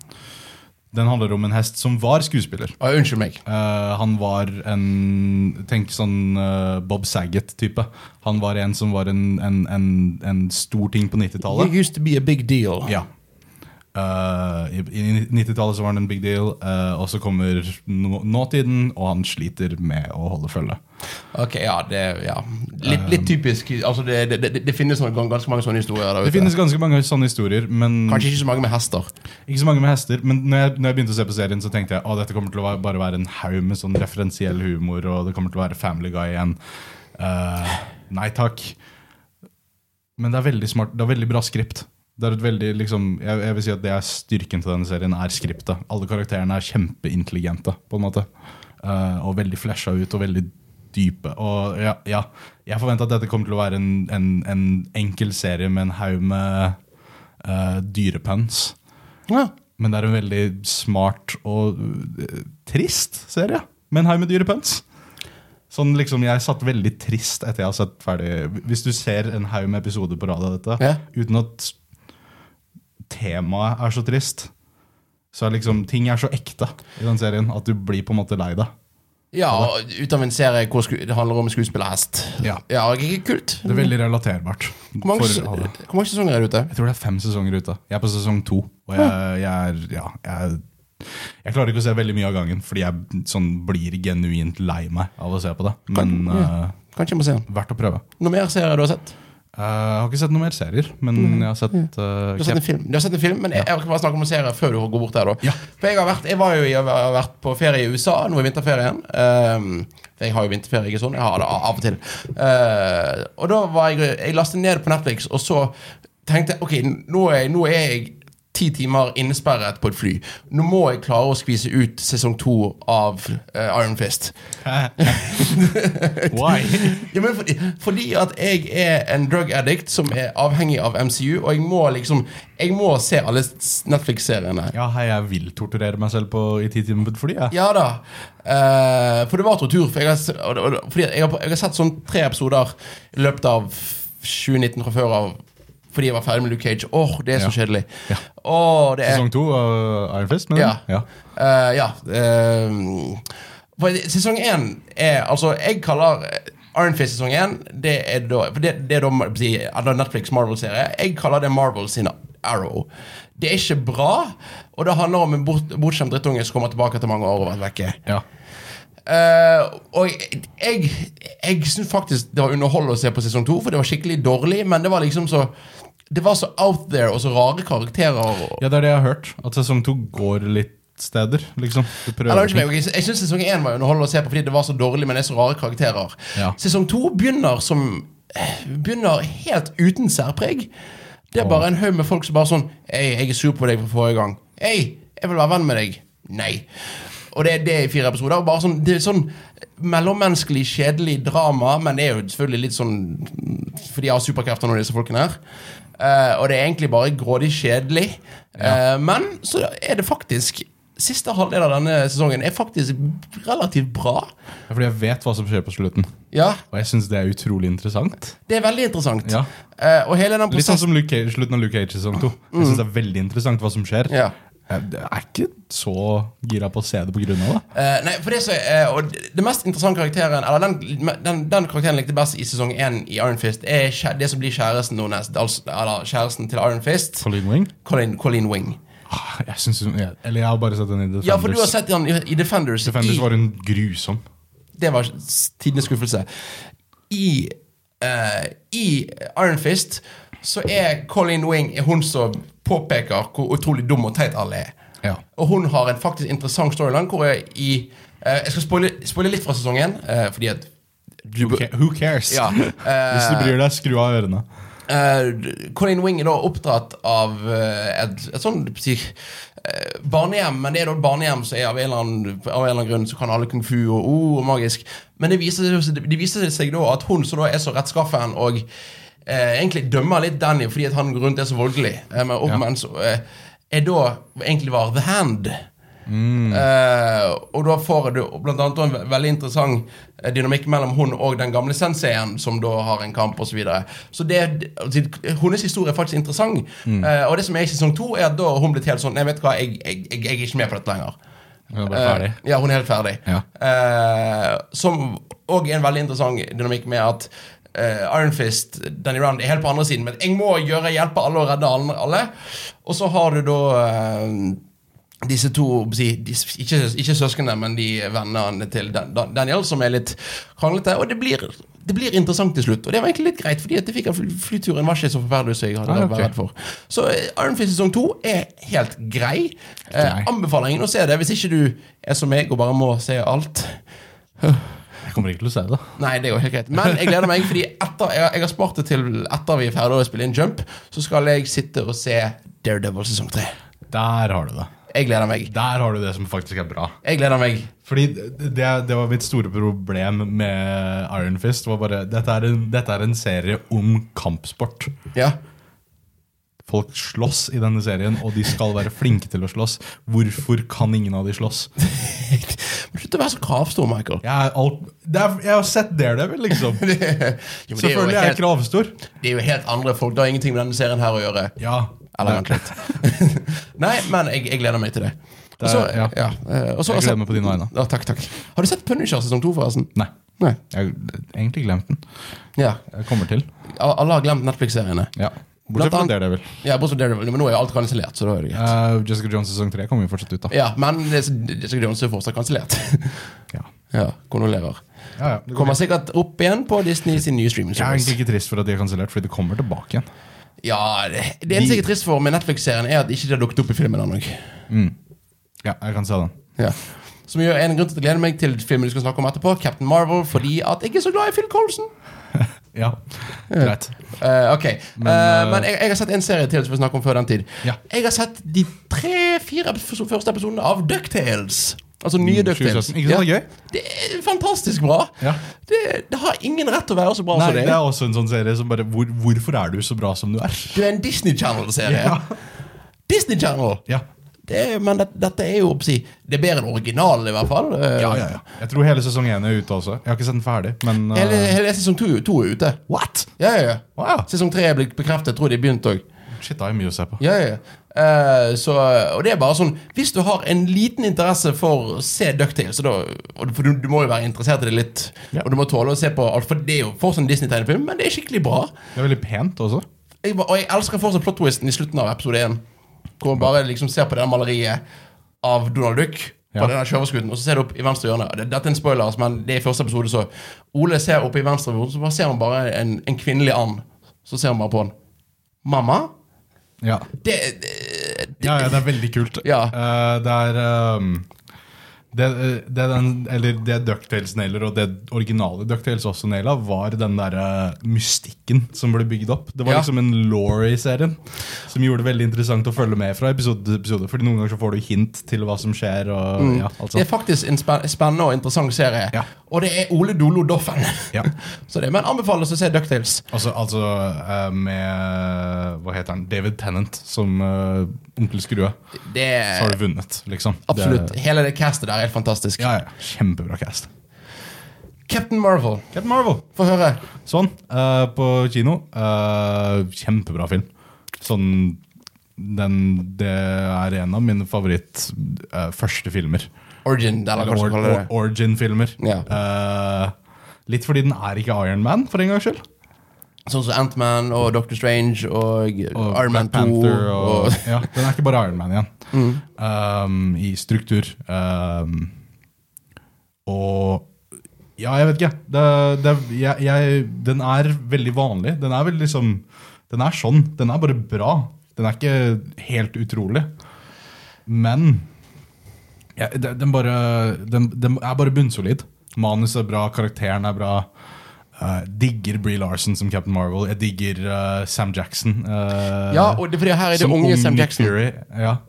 Speaker 2: den handler om en hest som var skuespiller.
Speaker 1: Å, unnskyld meg.
Speaker 2: Eh, han var en Tenk sånn eh, Bob Saget-type. Han var en som var en, en, en, en stor ting på 90-tallet.
Speaker 1: You used to be a big deal.
Speaker 2: Ja. Eh, I i 90-tallet så var han en big deal, eh, og så kommer nå, nåtiden, og han sliter med å holde følge.
Speaker 1: Ok, ja, det, ja. Litt, litt typisk. Altså, det, det, det, det finnes sånne, ganske mange sånne historier der
Speaker 2: Det
Speaker 1: ute.
Speaker 2: finnes ganske mange sånne historier, men
Speaker 1: Kanskje ikke så mange med hester.
Speaker 2: ikke så mange med hester. Men når jeg, når jeg begynte å se på serien, så tenkte jeg at dette kommer til å være- bare være en haug med sånn referensiell humor, og det kommer til å være Family Guy igjen. Eh, nei takk. Men det er veldig smart, det er veldig bra skript. Det er et veldig, liksom, jeg, jeg vil si at det er styrken til denne serien, er skriptet. Alle karakterene er kjempeintelligente, på en måte. Eh, og veldig flasha ut, og veldig dype. Og ja, ja jeg forventer at dette kommer til å være en, en, en enkel serie med en haug med uh, dyrepuns.
Speaker 1: Ja.
Speaker 2: Men det er en veldig smart og øh, trist serie. Med en haug med dyre pøns. Sånn liksom, Jeg satt veldig trist etter jeg har sett ferdig Hvis du ser en haug med episoder på rad av dette
Speaker 1: Ja.
Speaker 2: uten at temaet er så trist, så er liksom ting er så ekte i den serien at du blir på en måte lei deg.
Speaker 1: Ja, og ut av en serie hvor sku, det handler om skuespillerhest.
Speaker 2: Ja.
Speaker 1: ja ikke kult.
Speaker 2: Det er veldig relaterbart.
Speaker 1: Mm. Hvor mange,
Speaker 2: for alle.
Speaker 1: hvor mange sesonger er det ute?
Speaker 2: Jeg tror det er fem sesonger ute. Jeg er på sesong to. Og jeg, jeg er ja, jeg, jeg klarer ikke å se veldig mye av gangen, fordi jeg sånn, blir genuint lei meg av å se på det. Men eh,
Speaker 1: Kanskje jeg må se den.
Speaker 2: verdt å prøve.
Speaker 1: Noe mer serier du har sett?
Speaker 2: Eh, jeg har ikke sett noen mer serier, men jeg har sett eh,
Speaker 1: Mm. Du har sett en
Speaker 2: Cap-
Speaker 1: film, du har sett en film men jeg, jeg kan bare snakke om en serie før du går bort der. da
Speaker 2: Ja.
Speaker 1: For Jeg har vært, jeg var jo, i- jeg har vært på ferie i USA nå i vinterferien. Ehm, for jeg har jo vinterferie, ikke sånn. Jeg har det av og til. Eh, og da var jeg Jeg lastet ned på Netflix, og så tenkte jeg ok, nå er, nå er jeg ti timer innesperret på et fly. Nå må jeg klare å skvise ut sesong to av eh, Iron Fist.
Speaker 2: (laughs) Why?
Speaker 1: Ja, men fordi, fordi at jeg er en drug addict som er avhengig av MCU, og jeg må liksom Jeg må se alle s- Netflix-seriene.
Speaker 2: ja, hei, jeg vil torturere meg selv på, i ti timer på et fly. Jeg.
Speaker 1: Ja da. Eh, for det var tortur. For jeg har, s- og, og, fordi at jeg har, jeg har sett sånn tre episoder i løpet av 2019 fra før av fordi jeg var ferdig med Luke Cage. Åh, det er så
Speaker 2: Ja.
Speaker 1: kjedelig. Åh, det er
Speaker 2: Sesong to av Iron Fist, men
Speaker 1: Ja.
Speaker 2: ja.
Speaker 1: Eh, ja. eh, for sesong én er Altså, jeg kaller Iron Fist sesong én Det er da for det, det er da må jeg si, eller Netflix Marvel-serie. Jeg kaller det Marvel sin Arrow. Det er ikke bra, og det handler om en bort, bortskjemt drittunge som kommer tilbake etter mange år og har vært vekke.
Speaker 2: ja.
Speaker 1: Eh, og jeg, jeg, jeg syns faktisk det var underholdende å se på sesong to, for det var skikkelig dårlig, men det var liksom så Det var så out there og så rare karakterer. Og,
Speaker 2: ja, det er det jeg har hørt. At sesong to går litt steder, liksom. Du prøver
Speaker 1: Eller, unnskyld
Speaker 2: ting.
Speaker 1: meg, jeg jeg syns sesong én var underholdende å se på fordi det var så dårlig, men det er så rare karakterer.
Speaker 2: Ja.
Speaker 1: Sesong to begynner som Begynner helt uten særpreg. Det er
Speaker 2: Åh.
Speaker 1: bare en haug med folk som bare sånn Hei, jeg er sur på deg fra forrige gang. Hei, jeg vil være venn med deg. Nei. Og det er det i fire episoder. Bare sånn, det er sånn mellommenneskelig, kjedelig drama, men det er jo selvfølgelig litt sånn For de har superkrefter, noen av disse folkene her. Eh, og det er egentlig bare grådig kjedelig. Eh, men så er det faktisk Siste halvdel av denne sesongen er faktisk relativt bra.
Speaker 2: Ja, Fordi jeg vet hva som skjer på slutten.
Speaker 1: Ja,
Speaker 2: Og jeg syns det er utrolig interessant.
Speaker 1: det er veldig interessant.
Speaker 2: Ja.
Speaker 1: Eh, og hele den
Speaker 2: Litt sånn
Speaker 1: prosessen
Speaker 2: som Luke Cage, slutten av Luke Cage sesong 2. Jeg synes det er veldig interessant hva som skjer.
Speaker 1: Mm. Ja.
Speaker 2: Jeg jeg er ikke så gira på å se det på grunn av det.
Speaker 1: Eh, nei, for det, så, eh, og det mest interessante karakteren Eller den, den, den karakteren jeg likte best i sesong 1 i Iron Fist, er kjæ- det som blir kjæresten hennes. Altså, eller kjæresten til Iron Fist,
Speaker 2: Colleen Wing?
Speaker 1: Colin, Colin Wing.
Speaker 2: Ah, Jeg synes, hun- jeg, eller jeg har bare sett den i Defenders.
Speaker 1: Ja, for du har sett han i, i Defenders.
Speaker 2: Defenders
Speaker 1: i,
Speaker 2: var hun grusom.
Speaker 1: Det var tidenes skuffelse. I eh, I Iron Fist så er Colleen Wing hun som påpeker hvor utrolig dum og teit alle er.
Speaker 2: Ja.
Speaker 1: Og hun har en faktisk interessant storyline hvor jeg i eh, Jeg skal spoile spoile litt fra sesongen, eh, fordi at du,
Speaker 2: Who ca- Who cares? (laughs)
Speaker 1: Ja, eh,
Speaker 2: Hvis du bryr deg, skru av ørene.
Speaker 1: Eh, Colin Wing er da oppdratt av eh, et, et sånn si, eh, barnehjem, men det er da et barnehjem som er av en eller annen, av en eller annen grunn så kan alle kung fu og oh, og magisk. Men det viser, seg- det viser seg da at hun som da er så rettskaffen og eh, egentlig dømmer litt Danny fordi at han går rundt er så voldelig, eh, men opp,
Speaker 2: Ja.
Speaker 1: mens, eh, er da egentlig var The Hand.
Speaker 2: Mm.
Speaker 1: Eh, og da får du blant annet en ve- veldig interessant eh, dynamikk mellom hun og den gamle senseien, som da har en kamp, osv. Så, videre. så det, altså, hennes historie er faktisk interessant.
Speaker 2: Mm.
Speaker 1: Eh, og det som er i sesong to, er at da hun blitt helt sånn Nei, vet du hva, jeg, jeg, jeg, jeg er ikke med på dette lenger.
Speaker 2: Hun er bare ferdig.
Speaker 1: Eh, ja, hun er helt ferdig.
Speaker 2: Ja.
Speaker 1: Eh, som òg er en veldig interessant dynamikk med at eh, Iron Fist, Danny Round, er helt på andre siden. Men jeg må gjøre hjelpe alle og redde alle. alle. Og så har du da eh, disse to si, de, ikke, ikke søsknene, men de vennene til Dan, Dan- Daniel, som er litt kranglete. Og det blir, det blir interessant til slutt. Og det var egentlig litt greit, fordi at jeg fikk en fly, flyturen var ikke så forferdelig som jeg hadde
Speaker 2: Ah,
Speaker 1: vært
Speaker 2: ok.
Speaker 1: redd for. Så eh, Iron Fist sesong to er helt grei. Eh,
Speaker 2: Grei.
Speaker 1: anbefaler ingen å se det hvis ikke du er som meg og bare må se alt.
Speaker 2: Jeg kommer ikke til å se det.
Speaker 1: Nei, det er jo helt greit. Men jeg gleder meg, fordi etter, jeg, jeg har spart det til etter vi er ferdige å spille inn Jump, så skal jeg sitte og se Daredevil sesong 3.
Speaker 2: Der har du det.
Speaker 1: Jeg gleder meg.
Speaker 2: Der har du det som faktisk er bra.
Speaker 1: Jeg gleder meg.
Speaker 2: Fordi det, det var mitt store problem med Iron Fist. Var bare, dette, er en, dette er en serie om kampsport.
Speaker 1: Ja.
Speaker 2: Folk slåss i denne serien, og de skal være flinke til å slåss. Hvorfor kan ingen av de slåss?
Speaker 1: Men Slutt å være så kravstor, Michael.
Speaker 2: Jeg, er alt, det er, jeg har sett Daredevil, liksom.
Speaker 1: (laughs) Jo, men det jo
Speaker 2: (laughs) Selvfølgelig er jeg
Speaker 1: helt,
Speaker 2: kravstor.
Speaker 1: det er jo helt andre folk. Det har ingenting med denne serien her å gjøre.
Speaker 2: Ja.
Speaker 1: Eller vent litt. (laughs) Nei, men jeg, jeg gleder meg til det.
Speaker 2: Det er-
Speaker 1: Også-
Speaker 2: ja.
Speaker 1: eh, og så-
Speaker 2: Jeg gleder meg på dine vegne.
Speaker 1: Ja, takk, takk. Har du sett Punisher sesong 2, forresten?
Speaker 2: Nei.
Speaker 1: Nei.
Speaker 2: Jeg har egentlig glemt den.
Speaker 1: Ja.
Speaker 2: Jeg kommer til.
Speaker 1: Al- Alle har glemt Netflix-seriene.
Speaker 2: Ja.
Speaker 1: Blant
Speaker 2: Bortsett fra
Speaker 1: annet-
Speaker 2: Daredevil.
Speaker 1: Ja, bortsett fra Daredevil, men nå er jo alt kansellert. Så da er det greit.
Speaker 2: Eh, Jessica Jones sesong tre kommer jo fortsatt ut, da.
Speaker 1: Ja, men det det er Jones er fortsatt kansellert. (laughs)
Speaker 2: Ja.
Speaker 1: ja, Kondolerer.
Speaker 2: Ja, ja. det går
Speaker 1: Kommer
Speaker 2: fint.
Speaker 1: sikkert opp igjen på Disney sin nye streaming
Speaker 2: Jeg er
Speaker 1: service.
Speaker 2: egentlig ikke trist for at de er kansellert, fordi det kommer tilbake igjen.
Speaker 1: Ja, det, det eneste jeg er trist for med Netflix-serien, er at ikke det har dukket opp i filmen ennå.
Speaker 2: Ja, jeg kan se den.
Speaker 1: Ja. Som gjør en grunn til at jeg gleder meg til filmen du skal snakke om etterpå, Captain Marvel, fordi at jeg er så glad i Phil Colson.
Speaker 2: Ja, greit.
Speaker 1: Eh, ok, Eh, men,
Speaker 2: eh,
Speaker 1: jeg, jeg har sett en serie til som vi snakker om før den tid.
Speaker 2: Ja.
Speaker 1: Jeg har sett de tre-fire første episodene av Ducktales. Altså nye Ducktales.
Speaker 2: 2017. Mm, Ikke sant, det er gøy?
Speaker 1: Det er fantastisk bra.
Speaker 2: Ja.
Speaker 1: Det, det har ingen rett til å være så bra
Speaker 2: Nei,
Speaker 1: som det
Speaker 2: det
Speaker 1: er.
Speaker 2: er også en sånn serie som bare hvor, Hvorfor er du så bra som du er?
Speaker 1: Det er en Disney Channel-serie. Disney Channel!
Speaker 2: Ja.
Speaker 1: Det, er- men det, dette er jo å si, Det er bedre enn originalen, i hvert fall. Eh,
Speaker 2: Ah, Ja, ja, ja. Jeg tror hele sesong én er ute også. Jeg har ikke sett den ferdig, men uh,
Speaker 1: Hele, hele sesong to, to er ute.
Speaker 2: What?!
Speaker 1: Ja, ja, ja.
Speaker 2: Wow.
Speaker 1: Sesong tre er blitt bekreftet. Tror de begynte òg.
Speaker 2: Shit, da er mye å se på.
Speaker 1: Ja, ja, ja. Eh, så, og det er bare sånn Hvis du har en liten interesse for å se Ducktales, så da, og du- for du, du må jo være interessert i det litt,
Speaker 2: Ja.
Speaker 1: og du må tåle å se på alt, for det er jo fortsatt en Disney-tegnefilm, men det er skikkelig bra.
Speaker 2: Det er veldig pent også.
Speaker 1: jeg, var- og jeg elsker fortsatt plot-twisten i slutten av episode 1. Hvor man bare liksom ser på det der maleriet av Donald Duck. På
Speaker 2: Ja.
Speaker 1: den der sjørøverskuten, Og så ser du opp i venstre hjørne. Det- Dette er en spoiler, altså, men det er i første episode. Så Ole ser opp i venstre hjørne, så bare ser han bare en, en kvinnelig and. Så ser han bare på han. Mamma?
Speaker 2: Ja.
Speaker 1: Det, det, det
Speaker 2: ja, ja, det er veldig kult.
Speaker 1: Ja.
Speaker 2: Eh, det er ehm, det, eh, det, er den, eller det Ducktales nailer, og det originale Ducktales også naila, var den der eh, mystikken som ble bygd opp. Det var
Speaker 1: Ja.
Speaker 2: liksom en law i serien som gjorde det veldig interessant å følge med fra episode til episode. Fordi noen ganger så får du hint til hva som skjer. Og, Mm. ja, alt
Speaker 1: Det er
Speaker 2: sånt.
Speaker 1: faktisk en spen- spennende og interessant serie.
Speaker 2: Ja.
Speaker 1: Og det er Ole Dolo Doffen.
Speaker 2: Ja.
Speaker 1: (laughs) så det, men anbefales å se Ducktales.
Speaker 2: Altså, altså eh, med Hva heter han? David Tennant som eh, onkel Skrue.
Speaker 1: Det
Speaker 2: Så har
Speaker 1: er
Speaker 2: du vunnet, liksom.
Speaker 1: absolutt
Speaker 2: Det,
Speaker 1: Hele det castet der er helt fantastisk.
Speaker 2: ja, ja. Kjempebra cast.
Speaker 1: Captain Marvel,
Speaker 2: Captain Marvel.
Speaker 1: få høre.
Speaker 2: Sånn, eh, på kino. Eh, kjempebra film. Sånn den, Det er en av mine favoritt eh, første filmer.
Speaker 1: Origin, eller hva
Speaker 2: Eller
Speaker 1: du skal
Speaker 2: or,
Speaker 1: kalle
Speaker 2: or,
Speaker 1: det.
Speaker 2: Origin-filmer.
Speaker 1: Ja.
Speaker 2: Eh, litt fordi den er ikke Iron Man, for en gangs skyld.
Speaker 1: Sånn som Ant-Man og Doctor Strange og,
Speaker 2: Og
Speaker 1: Iron Man 2.
Speaker 2: Black Panther og,
Speaker 1: og,
Speaker 2: (laughs)
Speaker 1: Mm.
Speaker 2: ja, Den er ikke bare Iron Man igjen. Um, I struktur. Um, og Ja, jeg vet ikke. Det, det, jeg, jeg, den er veldig vanlig. Den er veldig liksom Den er sånn. Den er bare bra. Den er ikke helt utrolig. Men ja, den, den, bare, den, den er bare bunnsolid. Manuset er bra, karakteren er bra. Eh, digger Bree Larson som Captain Marvel. Jeg digger eh, Sam Jackson. eh,
Speaker 1: Ja, og det, fordi her er det
Speaker 2: som
Speaker 1: unge
Speaker 2: ung
Speaker 1: Sam
Speaker 2: Nick
Speaker 1: Jackson.
Speaker 2: Fury. Ja.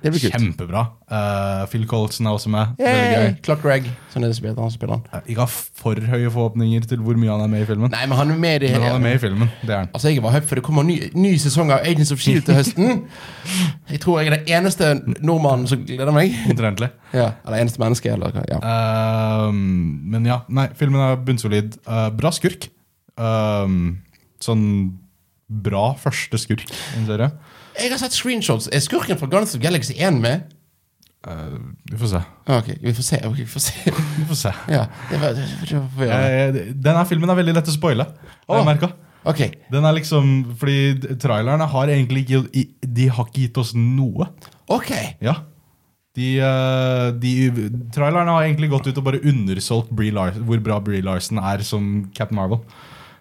Speaker 1: Det blir kult.
Speaker 2: Kjempebra. Eh, Phil Colson er også med. Veldig
Speaker 1: Yay!
Speaker 2: gøy.
Speaker 1: Clock Rag, som det spiller, han spiller han.
Speaker 2: Eh, Ikke ha for høye forhåpninger til hvor mye han er med i filmen.
Speaker 1: Nei, men han er med i det
Speaker 2: Men han er
Speaker 1: hele.
Speaker 2: med i filmen. det er han
Speaker 1: Altså, jeg var hyped for det kommer en ny, ny sesong av Agents of Shield E til høsten. Jeg tror jeg er den eneste nordmannen som gleder meg.
Speaker 2: Omtrentlig.
Speaker 1: Ja, eller eneste menneske, eller hva. Ja.
Speaker 2: Ehm, men ja, nei, filmen er bunnsolid. Eh, bra skurk. Ehm, sånn bra første skurk i en serie.
Speaker 1: Jeg har sett screenshots. Er skurken fra Guns of Galaxy 1 med?
Speaker 2: Eh, vi får se.
Speaker 1: Ah, Ok, vi får se. ok, vi får se. (laughs)
Speaker 2: Vi får se.
Speaker 1: Ja, det var, det var- det var forvirrende.
Speaker 2: Eh, denne filmen er veldig lett å spoile. har jeg
Speaker 1: Åh.
Speaker 2: merket.
Speaker 1: Ok,
Speaker 2: Den er liksom, fordi d- trailerne har egentlig ikke i- De har ikke gitt oss noe.
Speaker 1: ok.
Speaker 2: Ja. De, eh, de Trailerne har egentlig gått ut og bare undersolgt Brie Lar- hvor bra Bree Larson er som Captain Marvel.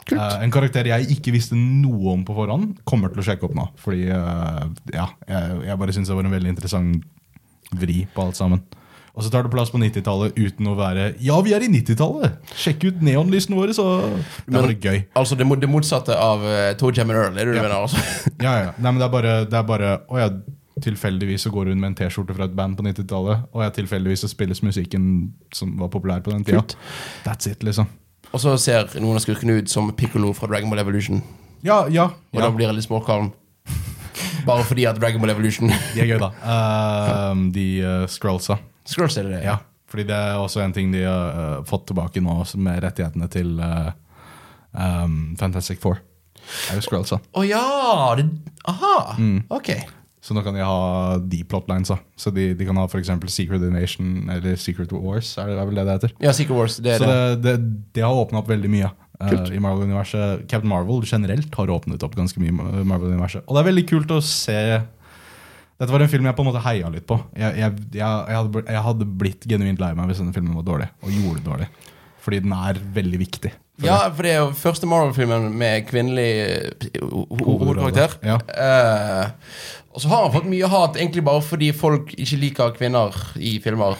Speaker 1: Kult.
Speaker 2: Eh, en karakter jeg ikke visste noe om på forhånd, kommer til å sjekke opp nå. Fordi eh, ja, jeg, jeg bare syns det var en veldig interessant vri på alt sammen. Og så tar det plass på 90-tallet uten å være Ja, vi er i 90-tallet! Sjekk ut neonlysene våre, så Det er bare gøy.
Speaker 1: Altså det, mo- det motsatte av uh, Toe Jam and Earl, er det du mener? Altså?
Speaker 2: Ja, ja. Nei, men det er bare, det er bare Å ja, tilfeldigvis så går hun med en T-skjorte fra et band på 90-tallet, og ja, tilfeldigvis så spilles musikken som var populær på den tida.
Speaker 1: Kult.
Speaker 2: That's it, liksom.
Speaker 1: Og så ser noen av skurkene ut som Piccolo fra Dragon Ball Evolution.
Speaker 2: Ja, ja.
Speaker 1: Og da
Speaker 2: ja.
Speaker 1: blir jeg litt småkalm. Bare fordi at Dragon Ball Evolution
Speaker 2: De er gøy, da. Ehm, de uh, scrollsa.
Speaker 1: Skrulls er det det?
Speaker 2: Ja. Fordi det er også en ting de har eh, fått tilbake nå, som med rettighetene til eh, ehm, Fantastic Four. Det er jo scrollsa.
Speaker 1: Å ja! Det, aha! Ok.
Speaker 2: Så nå kan de ha de plotlinesa. Så de, de kan ha f.eks. Secret Invasion eller Secret Wars, er det, er vel det det heter?
Speaker 1: Ja, Secret Wars. Det er
Speaker 2: Så
Speaker 1: det.
Speaker 2: det, det, det har åpna opp veldig mye eh, i Marvel-universet. Captain Marvel generelt har åpnet opp ganske mye i Marvel-universet. Og det er veldig kult å se Dette var en film jeg på en måte heia litt på. Jeg, jeg, jeg, jeg, hadde, bl- jeg hadde blitt genuint lei meg hvis denne filmen var dårlig, og gjorde det dårlig. Fordi den er veldig viktig. for
Speaker 1: Ja, for det er jo første Marvel-filmen med kvinnelig eh, ho- ho- hovedkarakter.
Speaker 2: Ja.
Speaker 1: Eh, og så har han fått mye hat egentlig bare fordi folk ikke liker kvinner i filmer.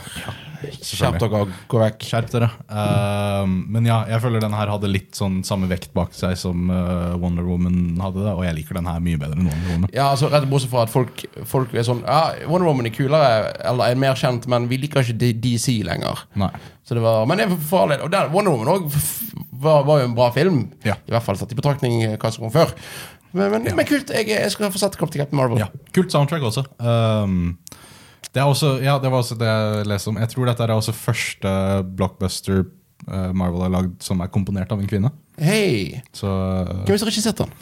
Speaker 1: Skjerp dere og gå vekk.
Speaker 2: Skjerp dere. Eh, men ja, jeg føler den her hadde litt sånn samme vekt bak seg som eh, Wonder Woman hadde, det, og jeg liker den her mye bedre enn Wonder Woman.
Speaker 1: Ja, altså Rett og bortsett fra at folk, folk er sånn Ja, Wonder Woman er kulere, eller er mer kjent, men vi liker ikke D- DC lenger.
Speaker 2: Nei.
Speaker 1: Så det var, Men det er for all del. Og der, Wonder Woman også var, var jo en bra film.
Speaker 2: Ja.
Speaker 1: I hvert fall tatt i betraktning eh, hva som kom før. Men, men, men kult. Jeg, jeg skal få sett Captain Captain Marvel.
Speaker 2: Ja, Kult soundtrack også. Um, det er også, ja, det var også det jeg leste om. Jeg tror dette er også første blockbuster eh, Marvel har lagd som er komponert av en kvinne.
Speaker 1: Hei!
Speaker 2: Så uh,
Speaker 1: Hvem har regissert den?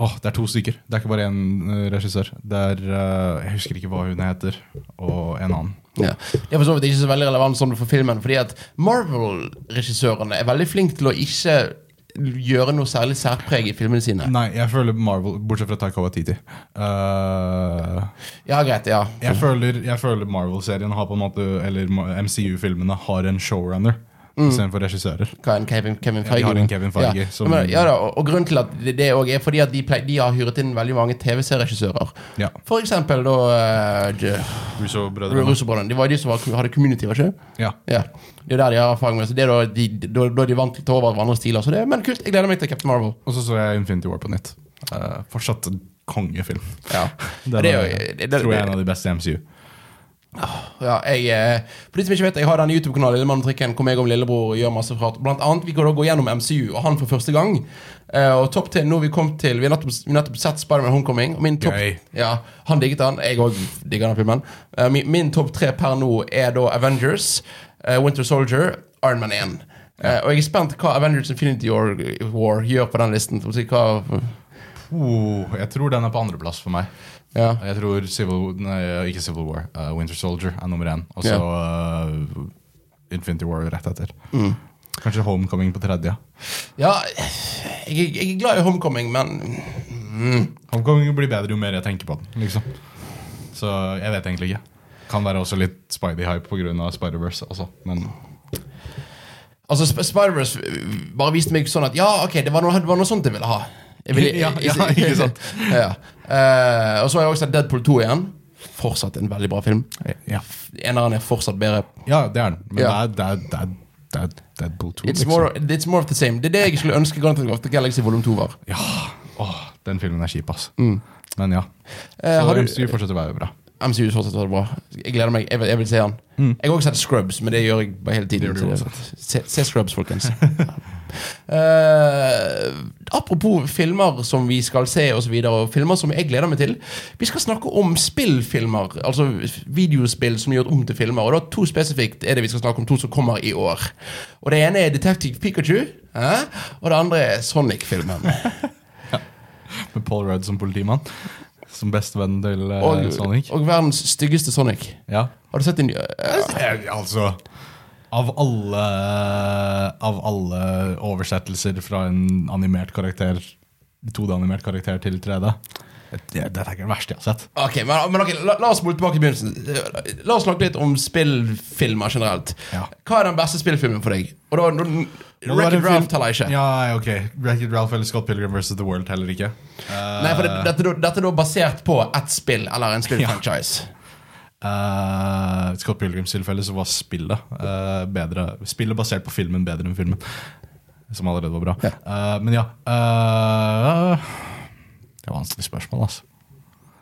Speaker 2: åh, Det er to stykker. Det er ikke bare én eh, regissør. Det er, eh, Jeg husker ikke hva hun heter, og en annen.
Speaker 1: Ja. Det er for så vidt ikke så veldig relevant sånn for filmen, fordi at Marvel-regissørene er veldig flinke til å ikke gjøre noe særlig særpreg i filmene sine.
Speaker 2: Nei, jeg føler Marvel, bortsett fra Taika Waititi. Eh,
Speaker 1: Ja, greit, ja.
Speaker 2: jeg føler, jeg føler Marvel-serien har på en måte Eller MCU-filmene har en showrunner istedenfor regissører.
Speaker 1: Hva er en Kevin, Kevin Feige?
Speaker 2: Ja, de har en Kevin Feige
Speaker 1: ja.
Speaker 2: som-
Speaker 1: Men, ja da, og, og grunnen til at det, det også er fordi at de, plei- de har hyret inn veldig mange TV-serieregissører.
Speaker 2: Ja,
Speaker 1: For eksempel da uh,
Speaker 2: Russo-brødrene.
Speaker 1: Russobrødrene. De var de som var, hadde community, var ikke det?
Speaker 2: Ja.
Speaker 1: Ja. Det er der de har erfaring med. Så det er da de, da, da er de vant til å ta over hverandres stiler. Så det, men kult. Jeg gleder meg til Captain Marvel.
Speaker 2: Og så så jeg Infinity War på nytt. Eh, fortsatt en kongefilm.
Speaker 1: Ja. (laughs)
Speaker 2: Den
Speaker 1: Det er jo-
Speaker 2: er,
Speaker 1: det- det-
Speaker 2: tror jeg er en av de beste i MCU.
Speaker 1: Ja, jeg, eh, for de som ikke vet, jeg har denne YouTube-kanalen Lillemann og Trikken, hvor jeg om lillebror gjør masse prat. Blant annet, vi kan da gå gjennom MCU, og han for første gang. Eh, og topp til, nå har vi kom til Vi har nettopp, vi har nettopp sett Spiderman Homecoming. Og min topp,
Speaker 2: Gøy.
Speaker 1: ja, han digget han. Jeg òg digger den filmen. Eh, min min topp tre per nå er da Avengers, eh, Winter Soldier, Iron Man 1. Eh, og jeg er spent hva Avengers Infinity War, War gjør på den listen. for å si Hva,
Speaker 2: Oh, jeg tror den er på andreplass for meg.
Speaker 1: ja.
Speaker 2: Jeg tror Civil, nei, ikke Civil War, eh, Winter Soldier er nummer én. Og så eh, Infinity War rett etter. Kanskje Homecoming på tredje.
Speaker 1: ja jeg, jeg er glad i Homecoming, men
Speaker 2: Homecoming blir bedre jo mer jeg tenker på den. liksom Så jeg vet egentlig ikke. Kan være også litt Spidey-hype pga. Spider-Verse. Altså. Men
Speaker 1: Altså, Sp Spider-Verse bare viste meg sånn at ja, ok, det var noe, det var noe sånt jeg ville ha. Jeg ville,
Speaker 2: Ja,
Speaker 1: (laughs)
Speaker 2: ja, ikke sant.
Speaker 1: ja. Eh, og så har jeg også sett Deadpool 2 igjen. Fortsatt en veldig bra film.
Speaker 2: Ja,
Speaker 1: Eneren er fortsatt bedre.
Speaker 2: ja det er den. Men
Speaker 1: Ja.
Speaker 2: det er, det er, det er, det er Deadpool 2.
Speaker 1: It's more, it's more of the same. Det er det jeg skulle ønske Grand Theft Auto Galaxy volum 2 var.
Speaker 2: Ja, Åh, Den filmen er kjip, ass. Men ja.
Speaker 1: Mm. Eh,
Speaker 2: Så
Speaker 1: har du-
Speaker 2: MCU fortsetter å være bra.
Speaker 1: MCU fortsatt var det bra. Jeg gleder meg. Jeg vil, jeg vil se han. Jeg har også sett Scrubs, men det gjør jeg bare hele tiden.
Speaker 2: Mm. Det gjør du
Speaker 1: så se, se Scrubs,
Speaker 2: (laughs)
Speaker 1: folkens. Eh, apropos filmer som vi skal se, og så videre, og filmer som jeg gleder meg til. Vi skal snakke om spillfilmer, altså videospill som er gjort om til filmer. Og da to spesifikt er det vi skal snakke om to som kommer i år. Og det ene er Detective Pikachu, eh? og det andre er
Speaker 2: (laughs)
Speaker 1: Sonic-filmen.
Speaker 2: Med Paul Rudd som politimann. Som bestevennen til eh,
Speaker 1: Og,
Speaker 2: Sonic.
Speaker 1: og verdens styggeste Sonic.
Speaker 2: Ja.
Speaker 1: Har du sett den?
Speaker 2: Eh, Altså Av alle Av alle oversettelser fra en animert karakter 2D-animert karakter til 3D det, Dette er ikke det verste jeg har sett.
Speaker 1: Ok, men, men ok, la, la oss spole tilbake til begynnelsen. La oss snakke litt om spillfilmer generelt.
Speaker 2: Ja.
Speaker 1: Hva er den beste spillfilmen for deg? Og da, nå-
Speaker 2: Må det være en
Speaker 1: Wreck-It Ralph
Speaker 2: film-
Speaker 1: teller jeg ikke.
Speaker 2: Ja, ok. Wreck-It Ralph eller Scott Pilgrim vs. The World heller ikke. Eh,
Speaker 1: Nei, for det, dette, er da- dette er da basert på ett spill, eller en spillfranchise.
Speaker 2: eh, Scott Pilgrims tilfelle så var spillet eh, bedre Spillet basert på filmen bedre enn filmen. Som allerede var bra. Eh, men ja eh, Det er vanskelig spørsmål, altså.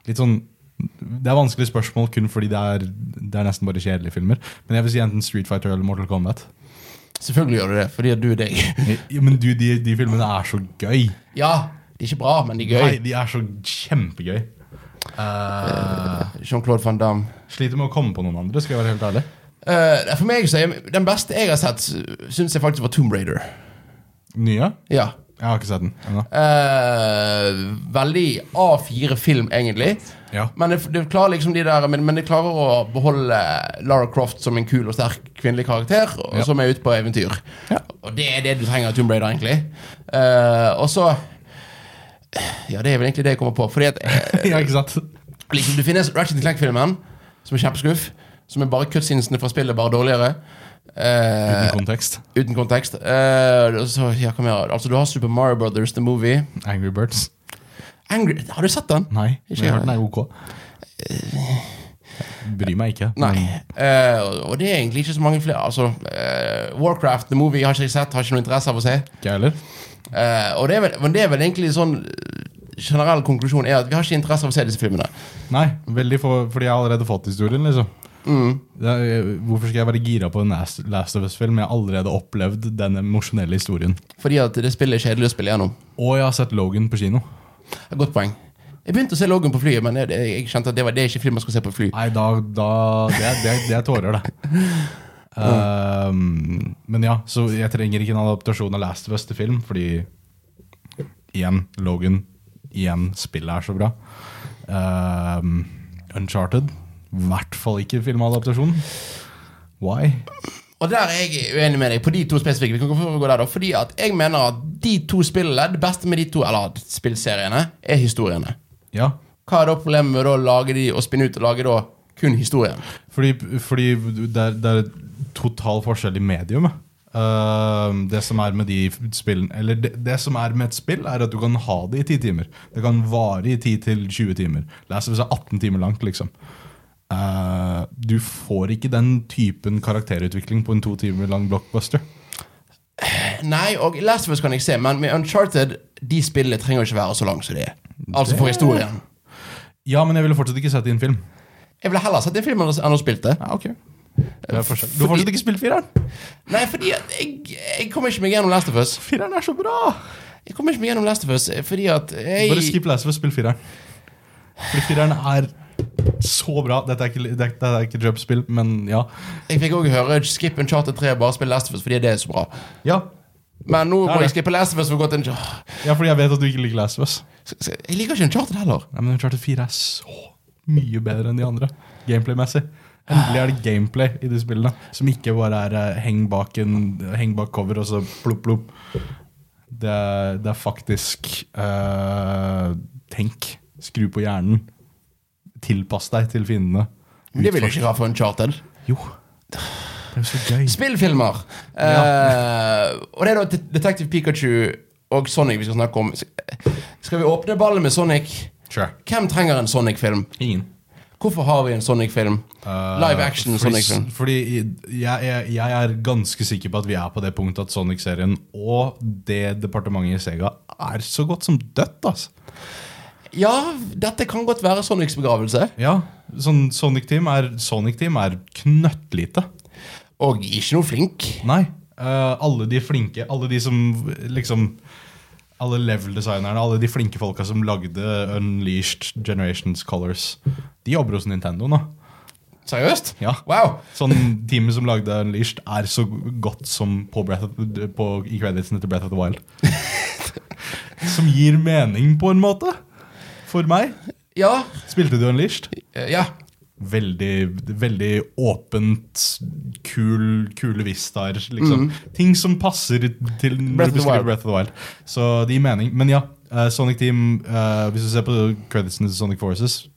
Speaker 2: Litt sånn det er vanskelig spørsmål kun fordi det er, det er nesten bare kjedelige filmer. Men jeg vil si enten Street Fighter eller Mortal Kombat.
Speaker 1: Selvfølgelig gjør du det, fordi at du er deg. (laughs)
Speaker 2: Ja, men du, de, de filmene er så gøy.
Speaker 1: Ja, de er ikke bra, men de er
Speaker 2: Nei,
Speaker 1: gøy.
Speaker 2: de er så kjempegøy. Eh,
Speaker 1: Jean-Claude van Damme.
Speaker 2: sliter med å komme på noen andre, skal jeg være helt ærlig.
Speaker 1: Eh, for meg så er Den beste jeg har sett, syns jeg faktisk var Tomb Raider.
Speaker 2: Nye?
Speaker 1: Ja.
Speaker 2: Jeg har ikke sett den ennå.
Speaker 1: Eh, veldig A4-film, egentlig.
Speaker 2: Ja.
Speaker 1: Men det, det klarer liksom de der men, men det klarer å beholde Lara Croft som en kul og sterk kvinnelig karakter, og,
Speaker 2: Ja.
Speaker 1: som er ute på eventyr.
Speaker 2: Ja.
Speaker 1: Og det er det du trenger av Tomb Raider, egentlig. Eh, og så Ja, det er vel egentlig det jeg kommer på. Fordi at eh,
Speaker 2: ja, ikke sant?
Speaker 1: liksom, Du finner Ratchet Clank-filmen, som er kjempeskuff. Som er bare cutscenesene fra spillet, bare dårligere. Eh,
Speaker 2: Uten kontekst.
Speaker 1: uten kontekst. Eh, og så, ja, hva mer? Altså, du har Super Mario Brothers, The Movie.
Speaker 2: Angry Birds.
Speaker 1: Angry, har du sett den?
Speaker 2: Nei,
Speaker 1: Ikke
Speaker 2: men jeg har
Speaker 1: jeg.
Speaker 2: hørt den er ok. Jeg Bryr meg ikke.
Speaker 1: Nei. eh, og- og det er egentlig ikke så mange flere. Altså, eh, Warcraft, the movie, har ikke jeg sett, har ikke noe interesse av å se.
Speaker 2: Ikke jeg heller.
Speaker 1: Eh, og det er, vel, men det er vel egentlig sånn eh, generell konklusjon er at vi har ikke interesse av å se disse filmene.
Speaker 2: Nei, veldig få, fordi jeg har allerede fått historien, liksom.
Speaker 1: Mm.
Speaker 2: Det er, hvorfor skal jeg være gira på en Last Last of Us-film? Jeg har allerede opplevd den emosjonelle historien.
Speaker 1: Fordi at det spillet er kjedelig å spille gjennom.
Speaker 2: Og jeg har sett Logan på kino.
Speaker 1: Godt poeng. Jeg begynte å se Logan på flyet, men jeg, jeg kjente at det, var, det er ikke film man skal se på fly.
Speaker 2: Nei, da, da det, er- det, er- det er tårer, det. Um, men ja, så jeg trenger ikke en adaptasjon av Last of Us til film, fordi igjen, Logan, igjen, spillet er så bra. Um, Uncharted, i hvert fall ikke filmadaptasjon. Why?
Speaker 1: Og der er jeg uenig med deg på de to spesifikke. Vi kan gå gå der da Fordi at jeg mener at de to spillene, det beste med de to Eller spillseriene, er historiene.
Speaker 2: Ja,
Speaker 1: Hva er da problemet med å da lage de og spinne ut og lage da kun historien?
Speaker 2: fordi, fordi det, er, det er total forskjell i medium. Um, det som er med de spillene Eller det, det som er med et spill, er at du kan ha det i ti timer. Det kan vare i 10-20 timer. Last of Us er 18 timer langt, liksom. Uh, du får ikke den typen karakterutvikling på en to timer lang blockbuster.
Speaker 1: Nei, og Last of Us kan jeg se, men med Uncharted De spillene trenger ikke være så lange som de er. Altså for historien.
Speaker 2: Ja, men jeg ville fortsatt ikke sett det i en film.
Speaker 1: Jeg ville heller sett en film enn å- enn å spilt det.
Speaker 2: Ja, ok det er forskjell. Du har
Speaker 1: Fordi-
Speaker 2: fortsatt ikke spilt fireren!
Speaker 1: Nei, fordi at jeg, jeg kommer ikke meg gjennom Last of Us.
Speaker 2: Fireren er så bra!
Speaker 1: Jeg kommer ikke meg gjennom Last of Us eh, fordi at jeg
Speaker 2: Bare skip Last of Us, spill fireren. Fordi fireren er så bra. Dette er ikke, dette er ikke Jump-spill, men ja.
Speaker 1: Jeg fikk også høre skip Uncharted 3 og bare spill Last of Us fordi det er så bra.
Speaker 2: ja.
Speaker 1: Men nå
Speaker 2: Ja,
Speaker 1: må
Speaker 2: det.
Speaker 1: jeg skippe Last of Us for å gå til Unch-
Speaker 2: Ja, fordi jeg vet at du ikke liker Last of Us.
Speaker 1: Så- så- Jeg liker ikke Uncharted heller.
Speaker 2: Nei, men Uncharted 4 er så mye bedre enn de andre, gameplay-messig. Endelig er det gameplay i de spillene, som ikke bare er eh, heng bak, en, heng bak cover og så plopp, plopp. Det, er- det er faktisk eh, Tenk. Skru på hjernen. Tilpass deg til fiendene.
Speaker 1: Men Det vil jeg ikke ha for Uncharted.
Speaker 2: Jo. Det er jo så gøy.
Speaker 1: Spillfilmer! Eh, og det er da Det- Detective Pikachu og Sonic vi skal snakke om. Skal vi åpne ballen med Sonic?
Speaker 2: Sure.
Speaker 1: Hvem trenger en Sonic-film?
Speaker 2: Ingen.
Speaker 1: Hvorfor har vi en Sonic-film?
Speaker 2: Eh,
Speaker 1: Live action
Speaker 2: fordi,
Speaker 1: Sonic-film.
Speaker 2: Fordi jeg, jeg, jeg er ganske sikker på at vi er på det punktet at Sonic-serien og det departementet i Sega er så godt som dødt. Altså.
Speaker 1: Ja, dette kan godt være Sonics begravelse.
Speaker 2: Ja, sånn Sonic Team er, Sonic Team er knøttlite.
Speaker 1: Og ikke noe flink.
Speaker 2: Nei. eh, alle de flinke, alle de som liksom Alle level-designerne, alle de flinke folka som lagde Unleashed Generations Colors, de jobber hos Nintendo nå.
Speaker 1: Seriøst?
Speaker 2: Ja.
Speaker 1: Wow!
Speaker 2: Sånn teamet som lagde Unleashed, er så godt som på Breath of, på, i creditsene til Breath of the
Speaker 1: (laughs)
Speaker 2: Wild. som gir mening, på en måte. For meg.
Speaker 1: Ja.
Speaker 2: Spilte du Unleashed?
Speaker 1: eh, ja.
Speaker 2: Veldig, veldig åpent, kul, kule vistaer. Liksom. Ting som passer til når
Speaker 1: Mhm. Breath of the
Speaker 2: du beskriver
Speaker 1: Wild.
Speaker 2: Breath of the Wild. Så det gir mening. Men ja, eh, Sonic Team eh, Hvis du ser på creditsene til Sonic Forces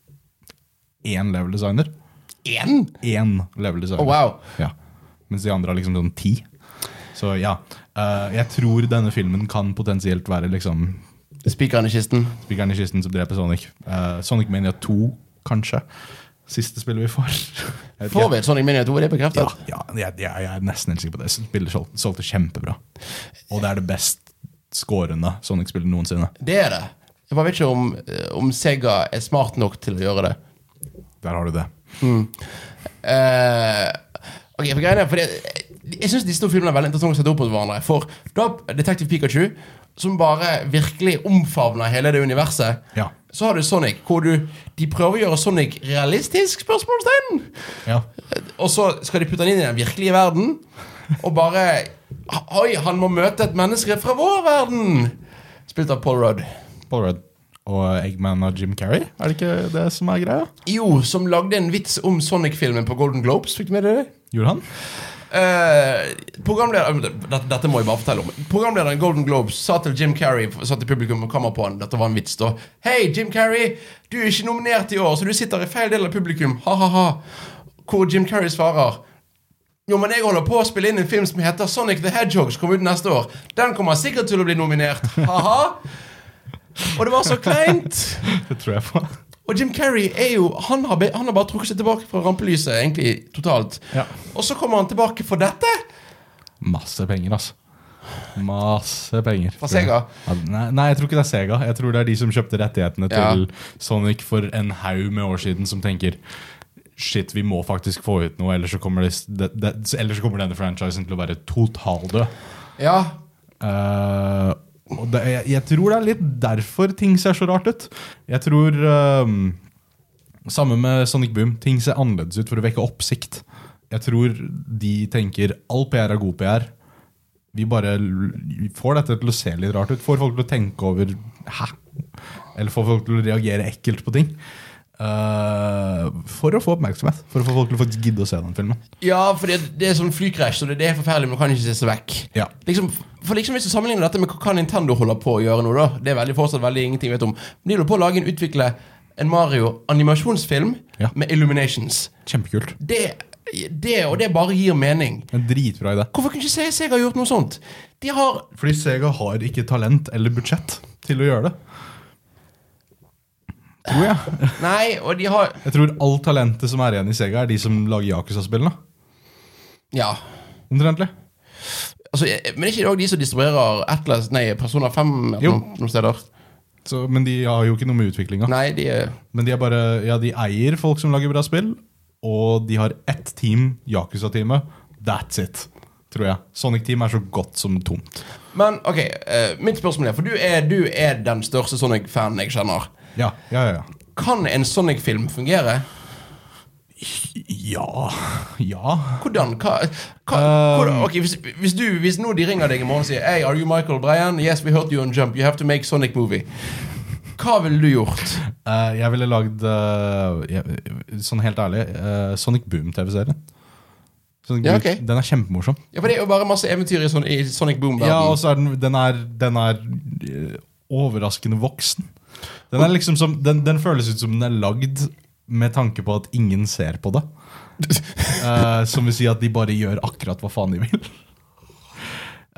Speaker 2: Én level designer.
Speaker 1: Én?
Speaker 2: Én level designer.
Speaker 1: Å, Oh, wow.
Speaker 2: ja. Mens de andre har liksom sånn ti. Så ja. eh, jeg tror denne filmen kan potensielt være liksom
Speaker 1: Spikeren i kisten.
Speaker 2: spikeren i kisten som dreper Sonic. Eh, Sonic Mania 2, kanskje. Siste spillet vi får. (laughs) Jeg vet ikke.
Speaker 1: Får vi et Sonic Mini 2? Det er
Speaker 2: Ja,
Speaker 1: bekreftet.
Speaker 2: ja jeg, jeg, jeg er nesten helt sikker på det. Spillet sol- solgte kjempebra. Og det er det best skårende Sonic-spillet noensinne.
Speaker 1: Det er det. Jeg bare vet ikke om, eh, om Sega er smart nok til å gjøre det.
Speaker 2: Der har du det.
Speaker 1: Eh, ok, for greiene er fordi Jeg syns disse to filmene er veldig interessante å sette opp mot hverandre. For da Detective Pikachu, som bare virkelig omfavner hele det universet.
Speaker 2: Ja.
Speaker 1: Så har du Sonic, hvor du De prøver å gjøre Sonic realistisk? spørsmålstegn
Speaker 2: Ja.
Speaker 1: Og så skal de putte han inn i den virkelige verden. Og bare Oi, han må møte et menneske fra vår verden! Spilt av Paul Rudd.
Speaker 2: Paul Rudd og Eggman og Jim Carrey, er det ikke det som er greia?
Speaker 1: Jo, som lagde en vits om Sonic-filmen på Golden Globes. Fikk du med deg det?
Speaker 2: Gjorde han? (laughs)
Speaker 1: Eh, programleder, dette, dette må jeg bare fortelle om. Programlederen i Golden Globes sa til Jim Carrey Sa til publikum og kamera på han Dette var en vits, da. Hei, Jim Carrey! Du er ikke nominert i år, så du sitter i feil del av publikum. Ha-ha-ha. Hvor Jim Carrey svarer Jo, men jeg holder på å spille inn en film som heter Sonic the Hedgehog, som kommer ut neste år. Den kommer sikkert til å bli nominert. Ha-ha. Og det var så kleint.
Speaker 2: Det tror jeg på.
Speaker 1: Og Jim Carrey er jo Han har, be- han har bare trukket seg tilbake fra rampelyset, egentlig, totalt.
Speaker 2: Ja.
Speaker 1: Og så kommer han tilbake for dette.
Speaker 2: Masse penger, altså. Masse penger.
Speaker 1: Fra Sega?
Speaker 2: Ja, Nei, nei, jeg tror ikke det er Sega. Jeg tror det er de som kjøpte rettighetene
Speaker 1: Ja.
Speaker 2: til Sonic for en haug med år siden, som tenker Shit, vi må faktisk få ut noe, ellers så kommer, det, det, det, ellers så kommer denne franchisen til å være totaldød.
Speaker 1: Ja,
Speaker 2: Eh, og det, jeg, jeg tror det er litt derfor ting ser så rart ut. Jeg tror ehm, Samme med Sonic Boom. Ting ser annerledes ut for å vekke oppsikt. Jeg tror de tenker all PR er god PR. Vi bare l- får dette til å se litt rart ut. Får folk til å tenke over Hæ? Eller får folk til å reagere ekkelt på ting. Eh, for å få oppmerksomhet. For å få folk til å faktisk gidde å se den filmen.
Speaker 1: ja for det, det er sånn flykrasj, så det, det er forferdelig, men du kan ikke se seg vekk.
Speaker 2: Ja.
Speaker 1: Liksom, for liksom Hvis du sammenligner dette med hva Nintendo holder på å gjøre nå, da Det er veldig fortsatt veldig ingenting vi vet om. Men de holder på å lage en utvikle en Mario-animasjonsfilm
Speaker 2: Ja.
Speaker 1: med Illuminations.
Speaker 2: Kjempekult.
Speaker 1: Det, det og det bare gir mening.
Speaker 2: En dritbra idé.
Speaker 1: Hvorfor kunne ikke Se- Sega gjort noe sånt? De har
Speaker 2: Fordi Sega har ikke talent eller budsjett til å gjøre det. Tror jeg.
Speaker 1: Nei, og de har
Speaker 2: Jeg tror all talentet som er igjen i Sega, er de som lager Yakuza-spillene.
Speaker 1: Ja.
Speaker 2: Omtrentlig.
Speaker 1: Altså, jeg- men er ikke det òg de som distribuerer Atlas, nei, Persona 5
Speaker 2: Jo.
Speaker 1: noen, noen steder?
Speaker 2: Så, men de har jo ikke noe med utviklinga.
Speaker 1: Nei, de er
Speaker 2: Men de, er bare, ja, de eier folk som lager bra spill, og de har ett team, Yakuza-teamet. That's it, tror jeg. Sonic Team er så godt som tomt.
Speaker 1: Men ok, eh, mitt spørsmål er For du er, du er den største Sonic-fanen jeg kjenner.
Speaker 2: Ja, ja, ja. ja.
Speaker 1: Kan en Sonic-film fungere?
Speaker 2: Ja, ja.
Speaker 1: Hvordan? Hva, hva,
Speaker 2: Um,
Speaker 1: hvordan ok, hvis, hvis, du, hvis nå de ringer deg i morgen og sier Hey, are you Michael Bryan? Yes, we heard you on Jump. You have to make Sonic movie. Hva ville du gjort?
Speaker 2: Eh, jeg ville lagd eh, jeg- Sånn helt ærlig eh, Sonic Boom-TV-serien. Sonic
Speaker 1: Ja,
Speaker 2: Boom,
Speaker 1: ok.
Speaker 2: Den er kjempemorsom.
Speaker 1: Ja, for Det er jo bare masse eventyr i, Son- i Sonic
Speaker 2: Ja, og
Speaker 1: Boom-verdenen.
Speaker 2: så er den, den er, den er eh, overraskende voksen. Den er liksom som Den, den føles ut som den er lagd med tanke på at ingen ser på det. Eh, som vil si at de bare gjør akkurat hva faen de vil.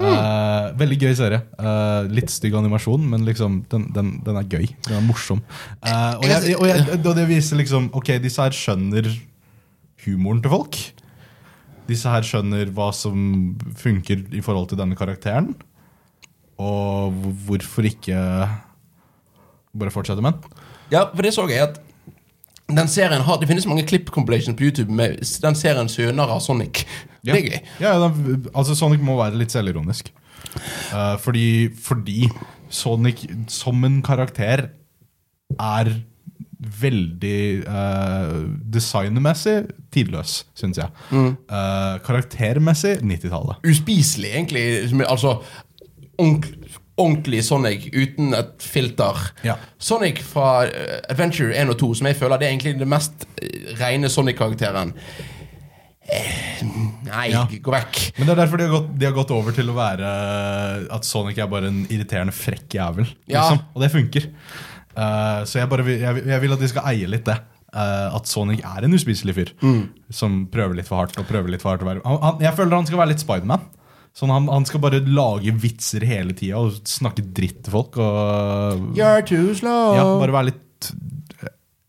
Speaker 2: Eh, veldig gøy serie. Eh, litt stygg animasjon, men liksom, den, den, den er gøy. Den er morsom. Eh, og, jeg, og, jeg, og det viser liksom Ok, disse her skjønner humoren til folk. Disse her skjønner hva som funker i forhold til denne karakteren. Og hvor- hvorfor ikke bare fortsette med den?
Speaker 1: Ja, for det så jeg at den serien har, Det finnes mange klipp-compilations på YouTube med s- den serien sønner av Sonic. Det er gøy.
Speaker 2: Ja, ja, den, altså Sonic må være litt selvironisk. Eh, fordi, fordi Sonic som en karakter er veldig eh, designmessig tidløs, syns jeg.
Speaker 1: Mm.
Speaker 2: Eh, karaktermessig 90-tallet.
Speaker 1: Uspiselig, egentlig. som er- Altså ordentlig, ordentlig Sonic uten et filter.
Speaker 2: Ja.
Speaker 1: Sonic fra eh, Adventure 1 og 2, som jeg føler det er egentlig den mest eh, rene Sonic-karakteren. Eh, nei,
Speaker 2: Ja.
Speaker 1: gå vekk.
Speaker 2: Men det er derfor de har, gått, de har gått over til å være at Sonic er bare en irriterende frekk jævel.
Speaker 1: Ja.
Speaker 2: Liksom. Og det funker. Eh, så jeg, bare, vil- jeg, vil- jeg vil at de skal eie litt det. Eh, at Sonic er en uspiselig fyr som prøver litt for hardt. og prøver litt for hardt å være. Han, han, jeg føler han skal være litt Spiderman. Sånn, han, han skal bare lage vitser hele tida og snakke dritt til folk. Og,
Speaker 1: You're too slow.
Speaker 2: ja, bare være litt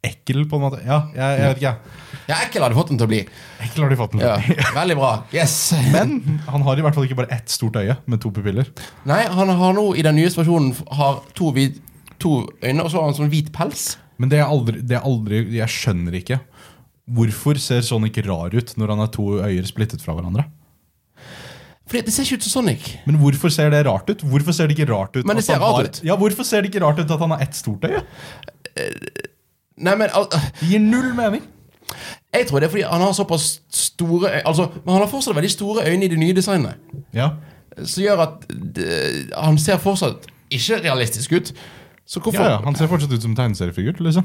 Speaker 2: ekkel, på en måte. Ja, jeg, jeg vet ikke.
Speaker 1: Ja, ekkel hadde fått den til å bli.
Speaker 2: jeg. Ekkel har de fått den til. (laughs)
Speaker 1: Ja, veldig bra. Yes.
Speaker 2: Men han har i hvert fall ikke bare ett stort øye med to pupiller.
Speaker 1: Nei, han har nå i den nye versjonen har to, hvit, to øyne, og så har han sånn hvit pels.
Speaker 2: Men det er aldri, det er aldri Jeg skjønner ikke. Hvorfor ser Sonic rar ut når han har to øyer splittet fra hverandre?
Speaker 1: Fordi det ser ikke ut som Sonic.
Speaker 2: Men hvorfor ser det rart ut? Hvorfor ser det ikke rart ut
Speaker 1: Men det
Speaker 2: at
Speaker 1: ser
Speaker 2: han
Speaker 1: rart
Speaker 2: har,
Speaker 1: ut.
Speaker 2: Ja, hvorfor ser det ikke rart ut at han har ett stort øye?
Speaker 1: Nei, men al
Speaker 2: Det gir null mening.
Speaker 1: Jeg tror det er fordi han har såpass store øy- Altså, Men han har fortsatt veldig store øyne i det nye designet.
Speaker 2: Ja,
Speaker 1: Som gjør at eh, han ser fortsatt ikke realistisk ut. Så hvorfor
Speaker 2: ja, ja Han ser fortsatt ut som en tegneseriefigur. liksom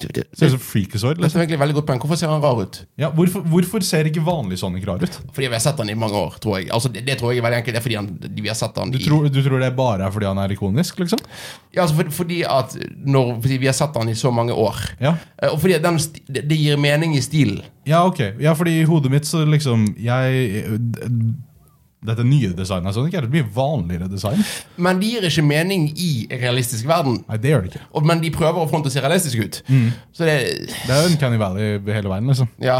Speaker 1: Det, det, det,
Speaker 2: Ser ut som Freakazoid.
Speaker 1: dette
Speaker 2: Liksom.
Speaker 1: er egentlig et veldig godt poeng. Hvorfor ser han rar ut?
Speaker 2: Ja, hvorfor, hvorfor ser ikke vanlig Sonic rar ut?
Speaker 1: Fordi vi har sett han i mange år, tror jeg. Altså, det, det tror jeg er veldig enkelt. Det er fordi han, vi har sett han
Speaker 2: Du
Speaker 1: i
Speaker 2: tror, du tror det bare er fordi han er ikonisk? liksom?
Speaker 1: Ja, altså for, fordi at når, fordi vi har sett han i så mange år.
Speaker 2: Ja,
Speaker 1: Eh, Og fordi at den, sti- det, det gir mening i stilen.
Speaker 2: Ja, ok. Ja, fordi i hodet mitt så liksom Jeg d- Dette nye designet av Sonic er et mye vanligere design.
Speaker 1: Men det gir ikke mening i en realistisk verden.
Speaker 2: Nei, det gjør det ikke.
Speaker 1: Og, men de prøver å få den til å se realistisk ut.
Speaker 2: Mm.
Speaker 1: Så det
Speaker 2: Det er jo Uncanny Valley hele veien. liksom
Speaker 1: Ja.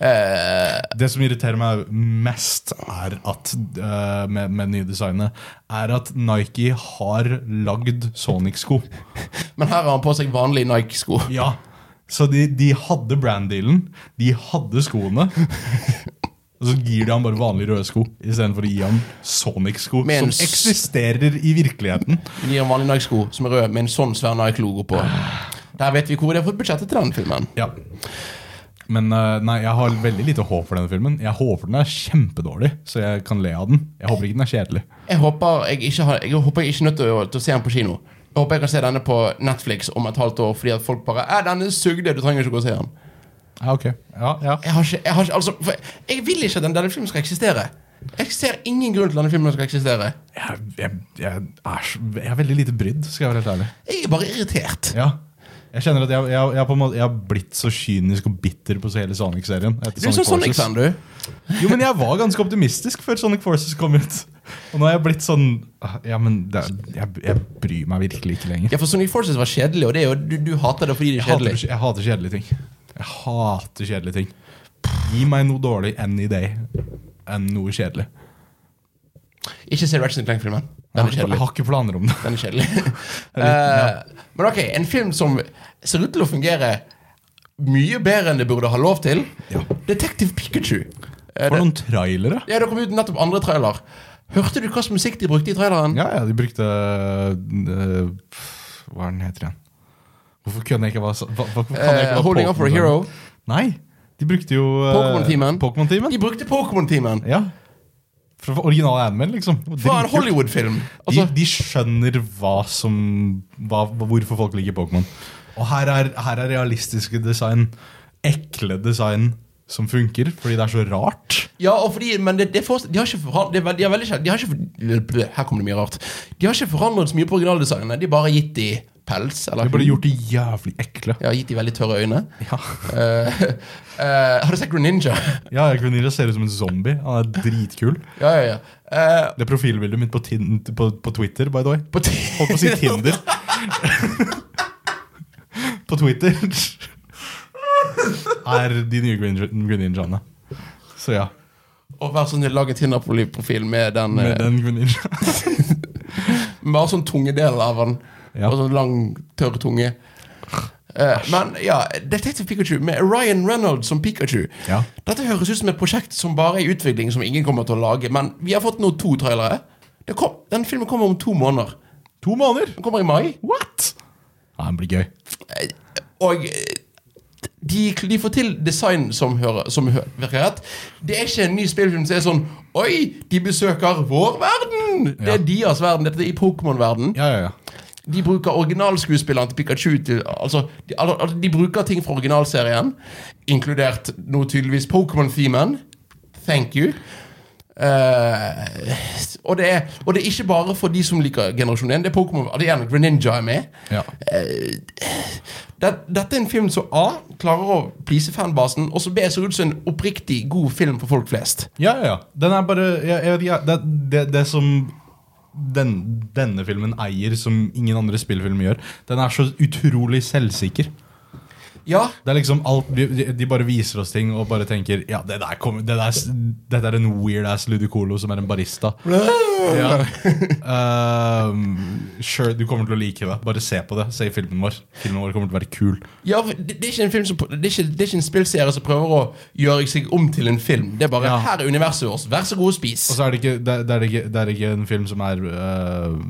Speaker 1: Eh,
Speaker 2: Det som irriterer meg mest er at eh, med, med det nye designet, er at Nike har lagd Sonic-sko.
Speaker 1: men her har han på seg vanlige Nike-sko.
Speaker 2: Ja Så de, de hadde brand-dealen, de hadde skoene. Og så gir de ham bare vanlige røde sko istedenfor å gi ham Sonic-sko,
Speaker 1: Med en
Speaker 2: som
Speaker 1: s-
Speaker 2: eksisterer i virkeligheten.
Speaker 1: De gir han vanlige Nike-sko som er røde, med en sånn svær Nike-logo på. Der vet vi hvor de har fått budsjettet til den filmen.
Speaker 2: Ja. Men eh, nei, jeg har veldig lite håp for denne filmen. Jeg håper den er kjempedårlig, så jeg kan le av den. Jeg håper ikke den er kjedelig.
Speaker 1: Jeg håper jeg ikke, har, jeg håper jeg ikke er nødt til å, til å se den på kino. Jeg håper jeg kan se denne på Netflix om et halvt år fordi at folk bare «Eh, 'Denne sugde, du trenger ikke gå og se den'.
Speaker 2: Ja, ok. Ja, ja.
Speaker 1: Jeg, har ikke, jeg, har ikke, altså, for jeg vil ikke at den- denne filmen skal eksistere. Jeg ser ingen grunn til at denne filmen skal eksistere.
Speaker 2: Jeg, jeg, jeg, er, så- jeg er veldig lite brydd, skal jeg være helt ærlig.
Speaker 1: Jeg er bare irritert.
Speaker 2: Ja. Jeg kjenner at jeg, jeg, jeg, på en måte, jeg har blitt så kynisk og bitter på så hele Sonic-serien. etter
Speaker 1: Du er sånn
Speaker 2: Forces.
Speaker 1: Sonic-fan, du.
Speaker 2: Jo, men jeg var ganske optimistisk før Sonic Forces kom ut. Og nå er jeg blitt sånn ah, Ja, men det, er- jeg, jeg bryr meg virkelig ikke lenger.
Speaker 1: Ja, for Sonic Forces var kjedelig, og det er jo, du, du hater det fordi det er
Speaker 2: Jeg hater,
Speaker 1: kjedelig.
Speaker 2: jeg hater kjedelige ting. Jeg hater kjedelige ting. Gi meg noe dårlig any day enn noe kjedelig.
Speaker 1: Ikke se Ratchet Clank-filmen.
Speaker 2: Jeg
Speaker 1: Den er
Speaker 2: har, jeg (laughs)
Speaker 1: kjedelig.
Speaker 2: har ikke planer om det.
Speaker 1: Den er kjedelig. (laughs) Eh, men ok, en film som ser ut til å fungere mye bedre enn det burde ha lov til.
Speaker 2: Ja.
Speaker 1: Detective Pikachu. Eh,
Speaker 2: For
Speaker 1: det,
Speaker 2: noen trailere.
Speaker 1: ja, det kom ut nettopp andre trailer. Hørte du hva slags musikk de brukte i traileren?
Speaker 2: Ja, ja, de brukte øh, Hva er den heter igjen? Hvorfor kunne jeg ikke være så- hva, hva, kan jeg ikke
Speaker 1: Eh,
Speaker 2: være
Speaker 1: Holding Up for a
Speaker 2: Pokémon?
Speaker 1: Hero.
Speaker 2: Nei, de brukte jo øh,
Speaker 1: Pokémon-teamen.
Speaker 2: Pokémon-teamen.
Speaker 1: De brukte Pokémon-teamen
Speaker 2: Ja. Fra originale anime, liksom.
Speaker 1: fra en
Speaker 2: Dritkult.
Speaker 1: Hollywood-film. Altså,
Speaker 2: de, de skjønner hva som hva, Hvorfor folk liker Pokémon. Og her er, her er realistiske design. Ekle design som funker, fordi det er så rart.
Speaker 1: ja, og fordi, men det, det er fortsatt- de har ikke forandret de, er veldig kjent- de har ikke for- Her kom det mye rart. De har ikke forandret så mye på originaldesignet. De har bare gitt de pels. Eller
Speaker 2: Vi burde gjort de jævlig ekle.
Speaker 1: Ja, gitt de veldig tørre øyne.
Speaker 2: Ja,
Speaker 1: Eh, eh, har du sett
Speaker 2: (laughs)
Speaker 1: Greninja?
Speaker 2: ja Grenilla ser ut som en zombie. Han er dritkul.
Speaker 1: ja, ja, ja. Eh,
Speaker 2: Det er profilbildet mitt på, tin på, på Twitter, by the way.
Speaker 1: på ti-
Speaker 2: Holdt på å si
Speaker 1: (laughs)
Speaker 2: Tinder. (laughs) på Twitter er de nye Green- Greninjaene. Så ja.
Speaker 1: Og vær så snill, lag en sånn Tinder-profil med den,
Speaker 2: Med
Speaker 1: eh,
Speaker 2: den Greninja.
Speaker 1: Bare sånn tungedel av den.
Speaker 2: Ja.
Speaker 1: Og sånn lang, tørr tunge. Eh, men ja, Detective Pikachu med Ryan Reynolds som Pikachu.
Speaker 2: Ja.
Speaker 1: Dette høres ut som et prosjekt som bare er i utvikling, som ingen kommer til å lage. Men vi har fått nå to trailere. Det kom, den filmen kommer om to måneder.
Speaker 2: To måneder!
Speaker 1: Den kommer i mai.
Speaker 2: What?! Ja, den blir gøy.
Speaker 1: Og eh, de, de får til design som, hører, som hø- virker rett. Det er ikke en ny spillfilm som er sånn Oi, de besøker vår verden! Det
Speaker 2: Ja.
Speaker 1: er deres verden. Dette er i Pokémon-verden.
Speaker 2: Ja, ja, ja.
Speaker 1: De bruker originalskuespilleren til Pikachu til, altså, de, al- al- de bruker ting fra originalserien, inkludert nå tydeligvis Pokémon-themen. Thank you. Eh, og, det er, og det er ikke bare for de som liker generasjon 1. Det er Pokémon. Det er Greninja er med.
Speaker 2: ja.
Speaker 1: Det, dette er en film som A. klarer å please fanbasen, og så B. ser ut som en oppriktig god film for folk flest.
Speaker 2: Ja, ja, ja. Den er bare jeg, jeg vet ikke, jeg- det, det, det som den, denne filmen eier, som ingen andre spillfilm gjør, den er så utrolig selvsikker.
Speaker 1: Ja,
Speaker 2: Det er liksom alt, de, de- de bare viser oss ting og bare tenker Ja, det der kommer det der, s- Dette er en weird ass ludicolo som er en barista. Ja. Ehm, sure, du kommer til å like det. Bare se på det. Se filmen vår. Filmen vår kommer til å være kul.
Speaker 1: ja for det, det er ikke en film som, det, er ikke, det er ikke en spillserie som prøver å gjøre seg om til en film. Det er bare
Speaker 2: Ja.
Speaker 1: 'her er universet vårt, vær så god, spis'.
Speaker 2: Og så er det ikke, det, det er ikke, det er ikke en film som er eh,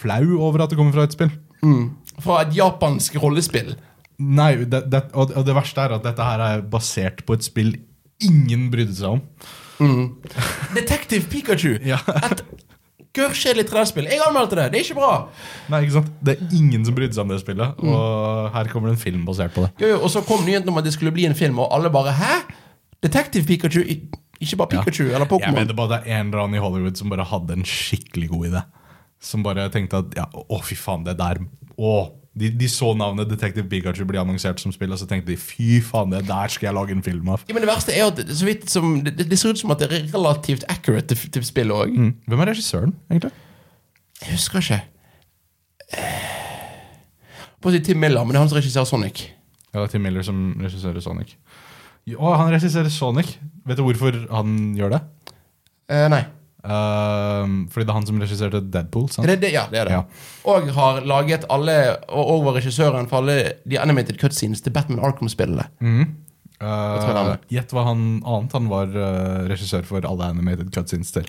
Speaker 2: flau over at det kommer fra et spill.
Speaker 1: Fra et japansk rollespill.
Speaker 2: Nei, det, det, og og det verste er at dette her er basert på et spill ingen brydde seg om.
Speaker 1: Detektiv Pikachu!
Speaker 2: Ja.
Speaker 1: Et gørrkjedelig 3D-spill. Jeg anmeldte det! Det er ikke bra!
Speaker 2: Nei, ikke sant? Mm. Det er ingen som brydde seg om det spillet, og her kommer det en film basert på det.
Speaker 1: Jo, jo, og så kom nyheten om at det skulle bli en film, og alle bare 'hæ?! Detektiv Pikachu? I- Ikke bare Pikachu eller
Speaker 2: Jeg
Speaker 1: Pokémon.
Speaker 2: mener bare det er en eller annen i Hollywood som bare hadde en skikkelig god idé. Som bare tenkte at ja, å fy faen, det der å, de, de så navnet Detective Pikachu bli annonsert som spill, og så tenkte de fy faen, det der skal jeg lage en film av.
Speaker 1: Ja, men det verste er jo at det- så vidt som, det, det ser ut som at det er relativt accurate til, til spillet òg.
Speaker 2: Mm. Hvem er regissøren, egentlig?
Speaker 1: Jeg husker ikke. Eh, På å si Tim Miller, men det er han som regisserer Sonic.
Speaker 2: Ja, det er Tim Miller som regisserer Sonic. Jo, Å, han regisserer Sonic. Vet du hvorfor han gjør det?
Speaker 1: Eh, nei.
Speaker 2: Ehm, fordi det er han som regisserte Deadpool, sant?
Speaker 1: Er det, det, ja, det er det.
Speaker 2: Ja.
Speaker 1: Og har laget alle, og, og var regissøren for alle de animated cutscenes til Batman Arkham-spillene.
Speaker 2: Mhm.
Speaker 1: tror jeg det
Speaker 2: Eh,
Speaker 1: er.
Speaker 2: Gjett hva han annet han var eh, regissør for alle animated cutscenes til.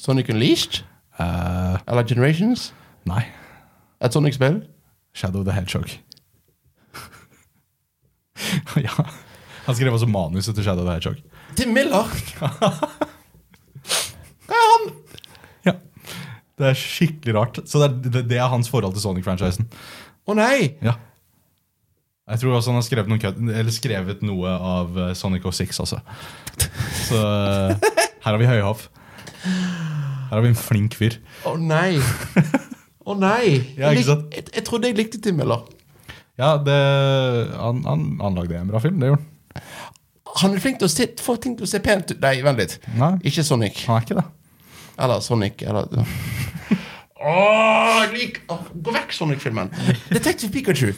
Speaker 1: Sonic Unleashed?
Speaker 2: Eh,
Speaker 1: Eller Generations?
Speaker 2: nei.
Speaker 1: Et Sonic-spill?
Speaker 2: Shadow the Hedgehog. (laughs) ja. Han skrev også manuset til Shadow the Hedgehog.
Speaker 1: Tim Miller! Hva er han?
Speaker 2: Ja. Det er skikkelig rart. Så det er, det, det er hans forhold til Sonic-franchisen.
Speaker 1: Å nei!
Speaker 2: Ja. Jeg tror også han har skrevet, noen, cut- eller skrevet noe av eh, Sonic 06 også. Så eh, her har vi høyhoff. Her har vi en flink fyr.
Speaker 1: Å
Speaker 2: (laughs)
Speaker 1: nei! Å nei!
Speaker 2: Ja, ikke
Speaker 1: Jeg lik-
Speaker 2: sant?
Speaker 1: Jeg, jeg trodde jeg likte Tim Miller.
Speaker 2: Ja, det, han, han, han lagde en bra film, det gjorde han.
Speaker 1: Han er flink til å se, få ting til å se pent ut. Nei, vent litt.
Speaker 2: Nei,
Speaker 1: Ikke Sonic.
Speaker 2: han er ikke det.
Speaker 1: Eller Sonic. Eller
Speaker 2: (laughs)
Speaker 1: Åh, jeg lik, åh, Gå vekk, Sonic-filmen! Detective Pikachu.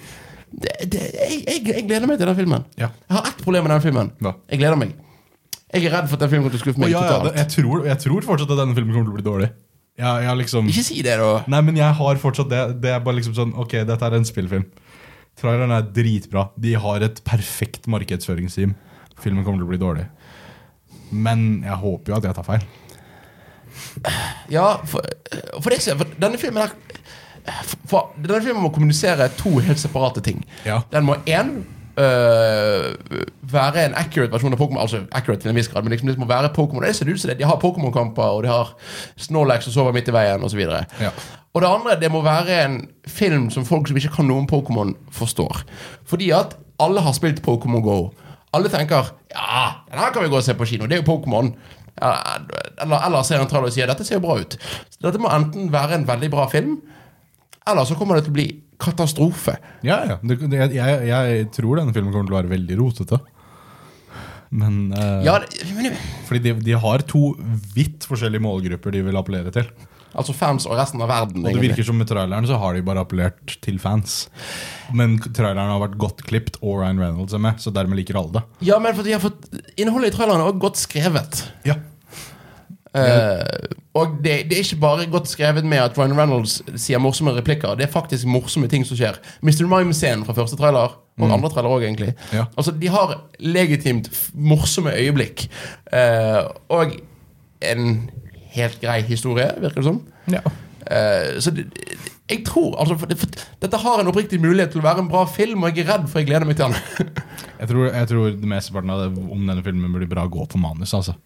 Speaker 1: Det, det, jeg, jeg, jeg gleder meg til den filmen.
Speaker 2: Ja.
Speaker 1: Jeg har ett problem med den filmen.
Speaker 2: Hva?
Speaker 1: Jeg gleder meg. Jeg er redd for at den filmen kommer til å skuffe
Speaker 2: Å,
Speaker 1: meg
Speaker 2: ja, ja, det,
Speaker 1: totalt.
Speaker 2: jeg, tror, jeg tror fortsatt at denne filmen kommer til å bli dårlig. Jeg, jeg har liksom,
Speaker 1: Ikke si det, da.
Speaker 2: nei, men jeg har fortsatt det. Det er bare liksom sånn Ok, dette er en spillfilm. Traileren er dritbra. De har et perfekt markedsføringsteam. Filmen kommer til å bli dårlig. Men jeg håper jo at jeg tar feil.
Speaker 1: Ja, for, eh, for, det, for denne filmen her for, for Denne filmen må kommunisere to helt separate ting.
Speaker 2: Ja.
Speaker 1: Den må én øh, være en accurate versjon av Pokémon. Altså accurate til en viss grad, men liksom det må være Pokémon. Det ser ut som det. De har Pokémon-kamper, og de har Snorlax som sover midt i veien, osv.
Speaker 2: Ja.
Speaker 1: Og det andre, det må være en film som folk som ikke kan noe om Pokémon, forstår. Fordi at alle har spilt Pokémon Go. Alle tenker ja, den her kan vi gå og se på kino. Det er jo Pokémon. Ja, Eller, eller ser en trailer og sier dette ser jo bra ut. Så dette må enten være en veldig bra film, Eller så kommer det til å bli katastrofe.
Speaker 2: Ja, ja. Det, det, jeg, jeg, jeg tror denne filmen kommer til å være veldig rotete. Men eh,
Speaker 1: Ja, det- men,
Speaker 2: Fordi de, de har to vidt forskjellige målgrupper de vil appellere til.
Speaker 1: altså fans og resten av verden.
Speaker 2: Og det
Speaker 1: egentlig.
Speaker 2: virker som med traileren så har de bare appellert til fans. Men traileren har vært godt klippet, og Ryan Reynolds er med, så dermed liker alle det.
Speaker 1: Ja, men for de har fått Innholdet i traileren er også godt skrevet.
Speaker 2: Ja.
Speaker 1: Eh, og det, det er ikke bare godt skrevet med at Ryan Reynolds sier morsomme replikker. Det er faktisk morsomme ting som skjer. Mr. Mime-scenen fra første trailer, og andre trailer òg, egentlig.
Speaker 2: Ja.
Speaker 1: Altså, De har legitimt f- morsomme øyeblikk. Eh, og en helt grei historie, virker det som. Eh, så det, jeg tror altså, for, for, Dette har en oppriktig mulighet til å være en bra film, og jeg er redd for jeg gleder meg til den. (laughs)
Speaker 2: Jeg tror, jeg tror det mesteparten av det om denne filmen blir bra å gå på manus, altså.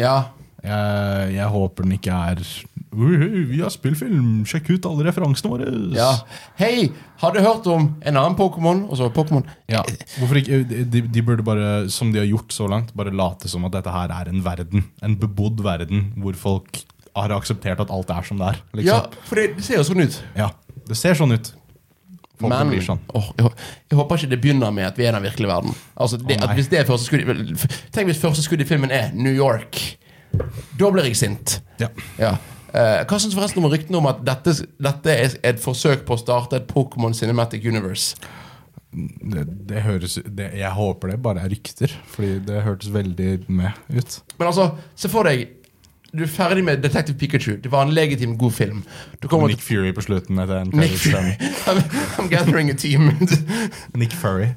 Speaker 1: ja
Speaker 2: Jeg, jeg håper den ikke er «Uhu, Vi har spillfilm, sjekk ut alle referansene våre!
Speaker 1: Ja. Hei, har du hørt om en annen Pokémon? Og så Pokémon.
Speaker 2: Ja, Hvorfor ikke? De, de burde bare, som de har gjort så langt, bare late som at dette her er en verden. En bebodd verden hvor folk har akseptert at alt er som det er.
Speaker 1: Ja,
Speaker 2: Liksom.
Speaker 1: for det, det ser jo sånn ut.
Speaker 2: Ja. Det ser sånn ut. Folk
Speaker 1: Men
Speaker 2: blir sånn.
Speaker 1: åh, jeg, hå- jeg håper ikke det begynner med at vi er i den virkelige verden. Altså, det,
Speaker 2: Å, nei.
Speaker 1: at hvis det er første skudd i- vel, f- Tenk hvis første skudd i filmen er New York. Da blir jeg sint.
Speaker 2: Ja.
Speaker 1: Ja. Eh, hva syns du forresten om ryktene om at dette, dette er et forsøk på å starte et Pokémon Cinematic Universe?
Speaker 2: Det, det høres det, Jeg håper det bare er rykter, Fordi det hørtes veldig med ut.
Speaker 1: Men altså, se for deg Du er ferdig med Detective Pikachu. Det var en legitim god film. Du kommer
Speaker 2: Nick Fury på slutten. Etter en
Speaker 1: til Nick Fury. (laughs)
Speaker 2: credit-scene.
Speaker 1: I'm, I'm gathering a team. (laughs)
Speaker 2: Nick Fury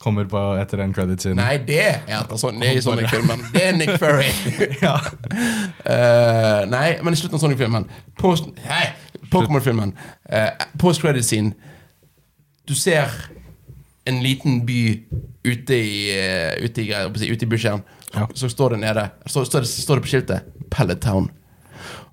Speaker 2: kommer på etter en credit-scene.
Speaker 1: Nei, det er etter sånn Det er i Sonic-filmen. Det er Nick Fury.
Speaker 2: (laughs) Ja.
Speaker 1: Eh, nei, men i slutten av Sonic-filmen Post- Nei, Pokémon-filmen. eh, Post-credit-scene. Du ser en liten by ute i eh, Ute i, greier, ute i bykjernen.
Speaker 2: Ja.
Speaker 1: Så står det nede Så står det, står det på skiltet Pellet Town.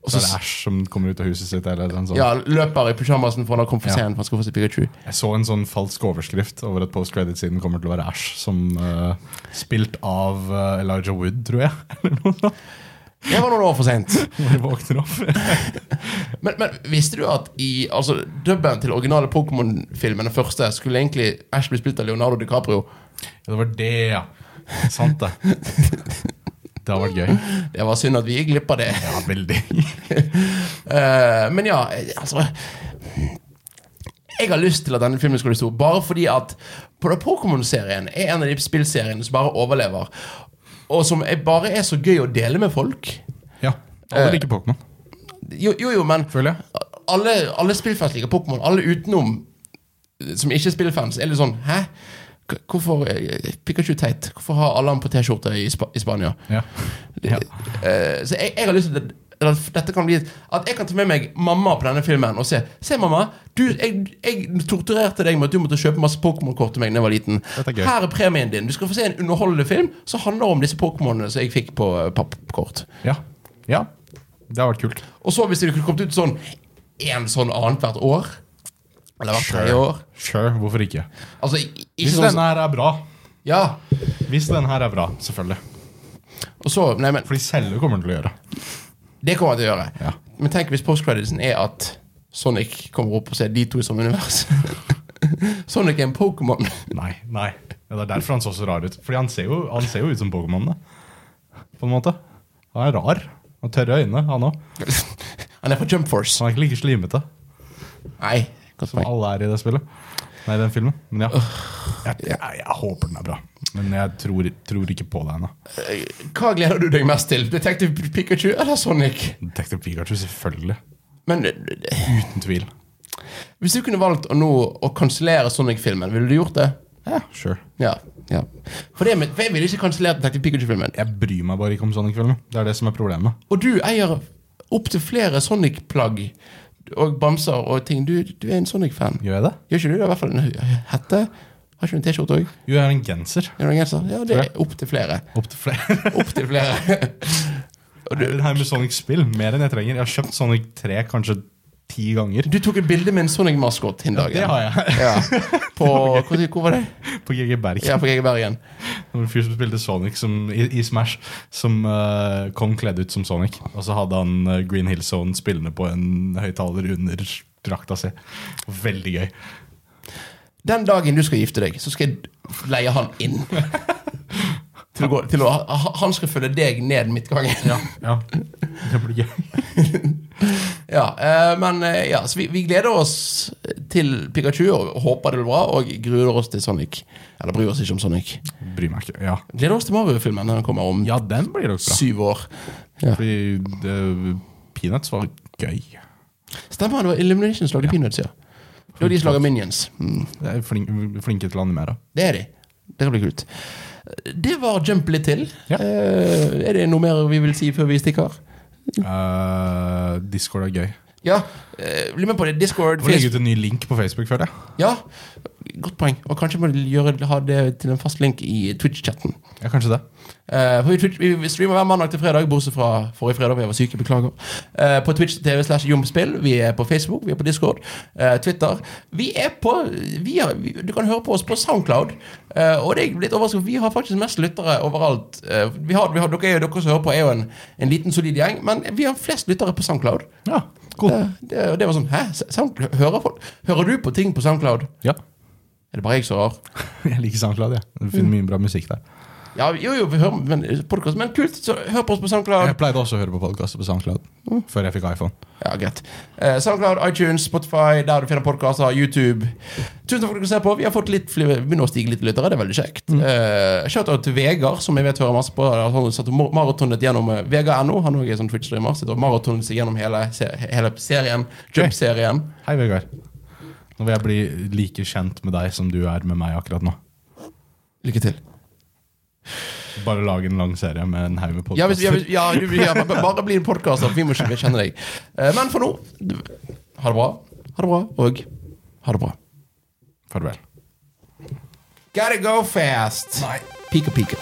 Speaker 1: Og
Speaker 2: Så
Speaker 1: så
Speaker 2: er det Ash som kommer ut av huset sitt. Eller en sånn.
Speaker 1: ja, løper i pysjamasen for han har kommet for
Speaker 2: Ja.
Speaker 1: sent. for Han skal få seg Pikachu.
Speaker 2: Jeg så en sånn falsk overskrift over at post-credit-siden kommer til å være Ash, som eh, spilt av eh, Elijah Wood, tror jeg. (laughs) Eller noe sånt.
Speaker 1: Det var noen år for seint.
Speaker 2: Når de våkner opp. (laughs)
Speaker 1: Men, men visste du at i altså, dubben til originale Pokémon-filmen, den første, skulle egentlig Ash bli spilt av Leonardo DiCaprio?
Speaker 2: Ja, det var det, ja. Sant det. Det har vært gøy.
Speaker 1: Det var synd at vi gikk glipp av det.
Speaker 2: Ja, veldig.
Speaker 1: Eh, men ja, eh, altså Jeg har lyst til at denne filmen skulle stå, bare fordi at på- Pokémon-serien er en av de spillseriene som bare overlever. Og som er, bare er så gøy å dele med folk.
Speaker 2: Ja, Alle liker Pokémon,
Speaker 1: Jo, jo, jo men
Speaker 2: føler jeg.
Speaker 1: alle, alle spillfans liker Pokémon. Alle utenom eh, som ikke er spillfans, er litt sånn Hæ? K- Hvorfor eh, Pikachu teit? Hvorfor har alle han på T-skjorte i, Spa i Spania?
Speaker 2: Ja. Ja.
Speaker 1: Eh, så jeg, jeg har lyst til at at dette kan bli At jeg kan ta med meg mamma på denne filmen og se. Se, mamma. Du, jeg, jeg torturerte deg med at du måtte kjøpe masse Pokémon-kort til meg da jeg var liten.
Speaker 2: Dette er gøy.
Speaker 1: Her er premien din. Du skal få se en underholdende film som handler om disse Pokémonene som jeg fikk på eh, pappkort.
Speaker 2: ja. ja. Det har vært kult.
Speaker 1: Og så hvis det kunne kommet ut sånn én sånn annethvert år Eller hvert tredje år.
Speaker 2: Sure, hvorfor ikke?
Speaker 1: Altså, i- ikke
Speaker 2: Hvis
Speaker 1: sånn
Speaker 2: denne her er bra.
Speaker 1: Ja.
Speaker 2: Hvis denne her er bra, selvfølgelig.
Speaker 1: Og så Nei, men
Speaker 2: For de selger kommer den til å gjøre.
Speaker 1: det kommer jeg til å gjøre.
Speaker 2: Ja.
Speaker 1: Men tenk hvis postcreditsen er at Sonic kommer opp og ser de to som univers. (laughs) Sonic er en Pokémon. (laughs)
Speaker 2: Nei, nei. Ja, det er derfor han så så rar ut. Fordi han ser jo, han ser jo ut som Pokémon, da. På en måte. Han er rar. Han har tørre øyne, han òg.
Speaker 1: Han er fra Jump Force.
Speaker 2: Han er ikke like slimete
Speaker 1: Nei. godt
Speaker 2: som
Speaker 1: poeng.
Speaker 2: alle er i det spillet. Nei, den filmen. Men ja. Jeg, jeg, jeg håper den er bra. Men jeg tror, tror ikke på det ennå.
Speaker 1: Eh, Hva gleder du deg mest til? Detective Pikachu eller Sonic?
Speaker 2: Detective Pikachu, selvfølgelig.
Speaker 1: Men eh,
Speaker 2: Uten tvil.
Speaker 1: hvis du kunne valgt å nå å kansellere Sonic-filmen, ville du gjort det?
Speaker 2: Ja, sure.
Speaker 1: Ja. ja. For, det, med- for jeg ville ikke kansellert Detective Pikachu-filmen.
Speaker 2: Jeg bryr meg bare ikke om Sonic-filmer. Det er det som er problemet.
Speaker 1: Og du eier opptil flere Sonic-plagg og bamser og ting. Du, du er en Sonic-fan.
Speaker 2: Gjør jeg det?
Speaker 1: Gjør ikke du det? I hvert fall en hette? Har ikke du en T-skjorte òg?
Speaker 2: Jo, jeg har en genser.
Speaker 1: Ja, det er opptil flere.
Speaker 2: Opptil (laughs) flere.
Speaker 1: Opptil flere. (laughs)
Speaker 2: Og det her med Sonic-spill, mer enn jeg trenger. Jeg har kjøpt Sonic 3 kanskje ti ganger.
Speaker 1: Du tok et bilde med en Sonic-maskot den dagen.
Speaker 2: Det har jeg.
Speaker 1: Ja. På, hvor, hvor var det?
Speaker 2: På GG Berg.
Speaker 1: Ja, på Egebergen.
Speaker 2: Det var en fyr som spilte Sonic som, i, i Smash, som eh, kom kledd ut som Sonic. Og så hadde han eh, Green Hill Zone spillende på en høyttaler under drakta si. Veldig gøy.
Speaker 1: Den dagen du skal gifte deg, så skal jeg leie han inn. Til å, gå, til å, ha- han skal følge deg ned midtgangen. (laughs) Ja,
Speaker 2: Ja, (laughs) det blir gøy.
Speaker 1: eh, men eh, ja, så vi, vi gleder oss til Pikachu og håper det blir bra, og gruer oss til Sonic. Eller bryr oss ikke om Sonic.
Speaker 2: Bryr meg ikke. Ja,
Speaker 1: Gleder oss til Mario-filmen når den kommer om
Speaker 2: ja den blir nok bra.
Speaker 1: syv år. Ja.
Speaker 2: Fordi det, Peanuts var gøy.
Speaker 1: Stemmer, det var Illuminations som lagde Peanuts, ja. Det var de som lager Minions. Mm.
Speaker 2: Det er flin, flinke til å animere.
Speaker 1: Det er de. Det skal bli kult. Det var Jump litt til.
Speaker 2: Ja.
Speaker 1: Eh, er det noe mer vi vil si før vi stikker?
Speaker 2: Eh, Discord er gøy.
Speaker 1: Ja, eh, bli med på det. Discord,
Speaker 2: Må legge
Speaker 1: Facebook
Speaker 2: ut en ny link på Facebook, føler jeg.
Speaker 1: Ja, godt poeng. Og kanskje må du gjøre, ha det til en fast link i Twitch-chatten.
Speaker 2: Ja, kanskje det.
Speaker 1: Eh, for vi, Twitch, vi streamer hver mandag til fredag, bortsett fra forrige fredag, hvor jeg var syk. Beklager. Eh, på Twitch TV slash Jomspill. Vi er på Facebook, vi er på Discord, eh, Twitter. Vi er på vi har, vi, Du kan høre på oss på Soundcloud. Eh, og det er jeg litt overrasket over. Vi har faktisk mest lyttere overalt. Eh, vi har, vi har, dere, er jo- dere som hører på, er jo en, en liten, solid gjeng, men vi har flest lyttere på Soundcloud.
Speaker 2: Ja, cool.
Speaker 1: Det, det, og det var sånn Hæ? Sound, hører, folk, hører du på ting på Soundcloud?
Speaker 2: Ja. (laughs)
Speaker 1: Er det bare jeg som er rar?
Speaker 2: Jeg liker SoundCloud, jeg. Du finner mye bra musikk der.
Speaker 1: Ja, jo, jo, vi hører men, podcast, men kult. Så hør på oss på Soundcloud.
Speaker 2: Jeg pleide også å høre på podkaster på SoundCloud før jeg fikk iPhone.
Speaker 1: Ja, greit. Eh, Soundcloud, iTunes, Spotify, der du finner podkaster, YouTube. Tusen takk for at dere ser på. Vi har fått litt flere- vi begynner å stige litt lyttere. Det er veldig kjekt. Eh, Shoutout til Vegard, som jeg vet hører masse på. Han satt og mar- maratonet gjennom eh, Vegard.no. Han også er sånn Twitch-streamer. Sitter og maratonet seg gjennom hele, se- hele serien. Jump-serien.
Speaker 2: Hei, Vegard. Nå vil jeg bli like kjent med deg som du er med meg akkurat nå.
Speaker 1: Lykke til.
Speaker 2: Bare lage en lang serie med en haug med
Speaker 1: Ja, hvis, ja,
Speaker 2: podkaster.
Speaker 1: hvis, ja, du, ja, ba- bare bli en podkaster, for vi må ikke kjenne deg. Eh, Men for nå du- Ha det bra. Ha det bra, og ha det bra.
Speaker 2: Farvel.
Speaker 1: Gotta go fast. Pika, pika.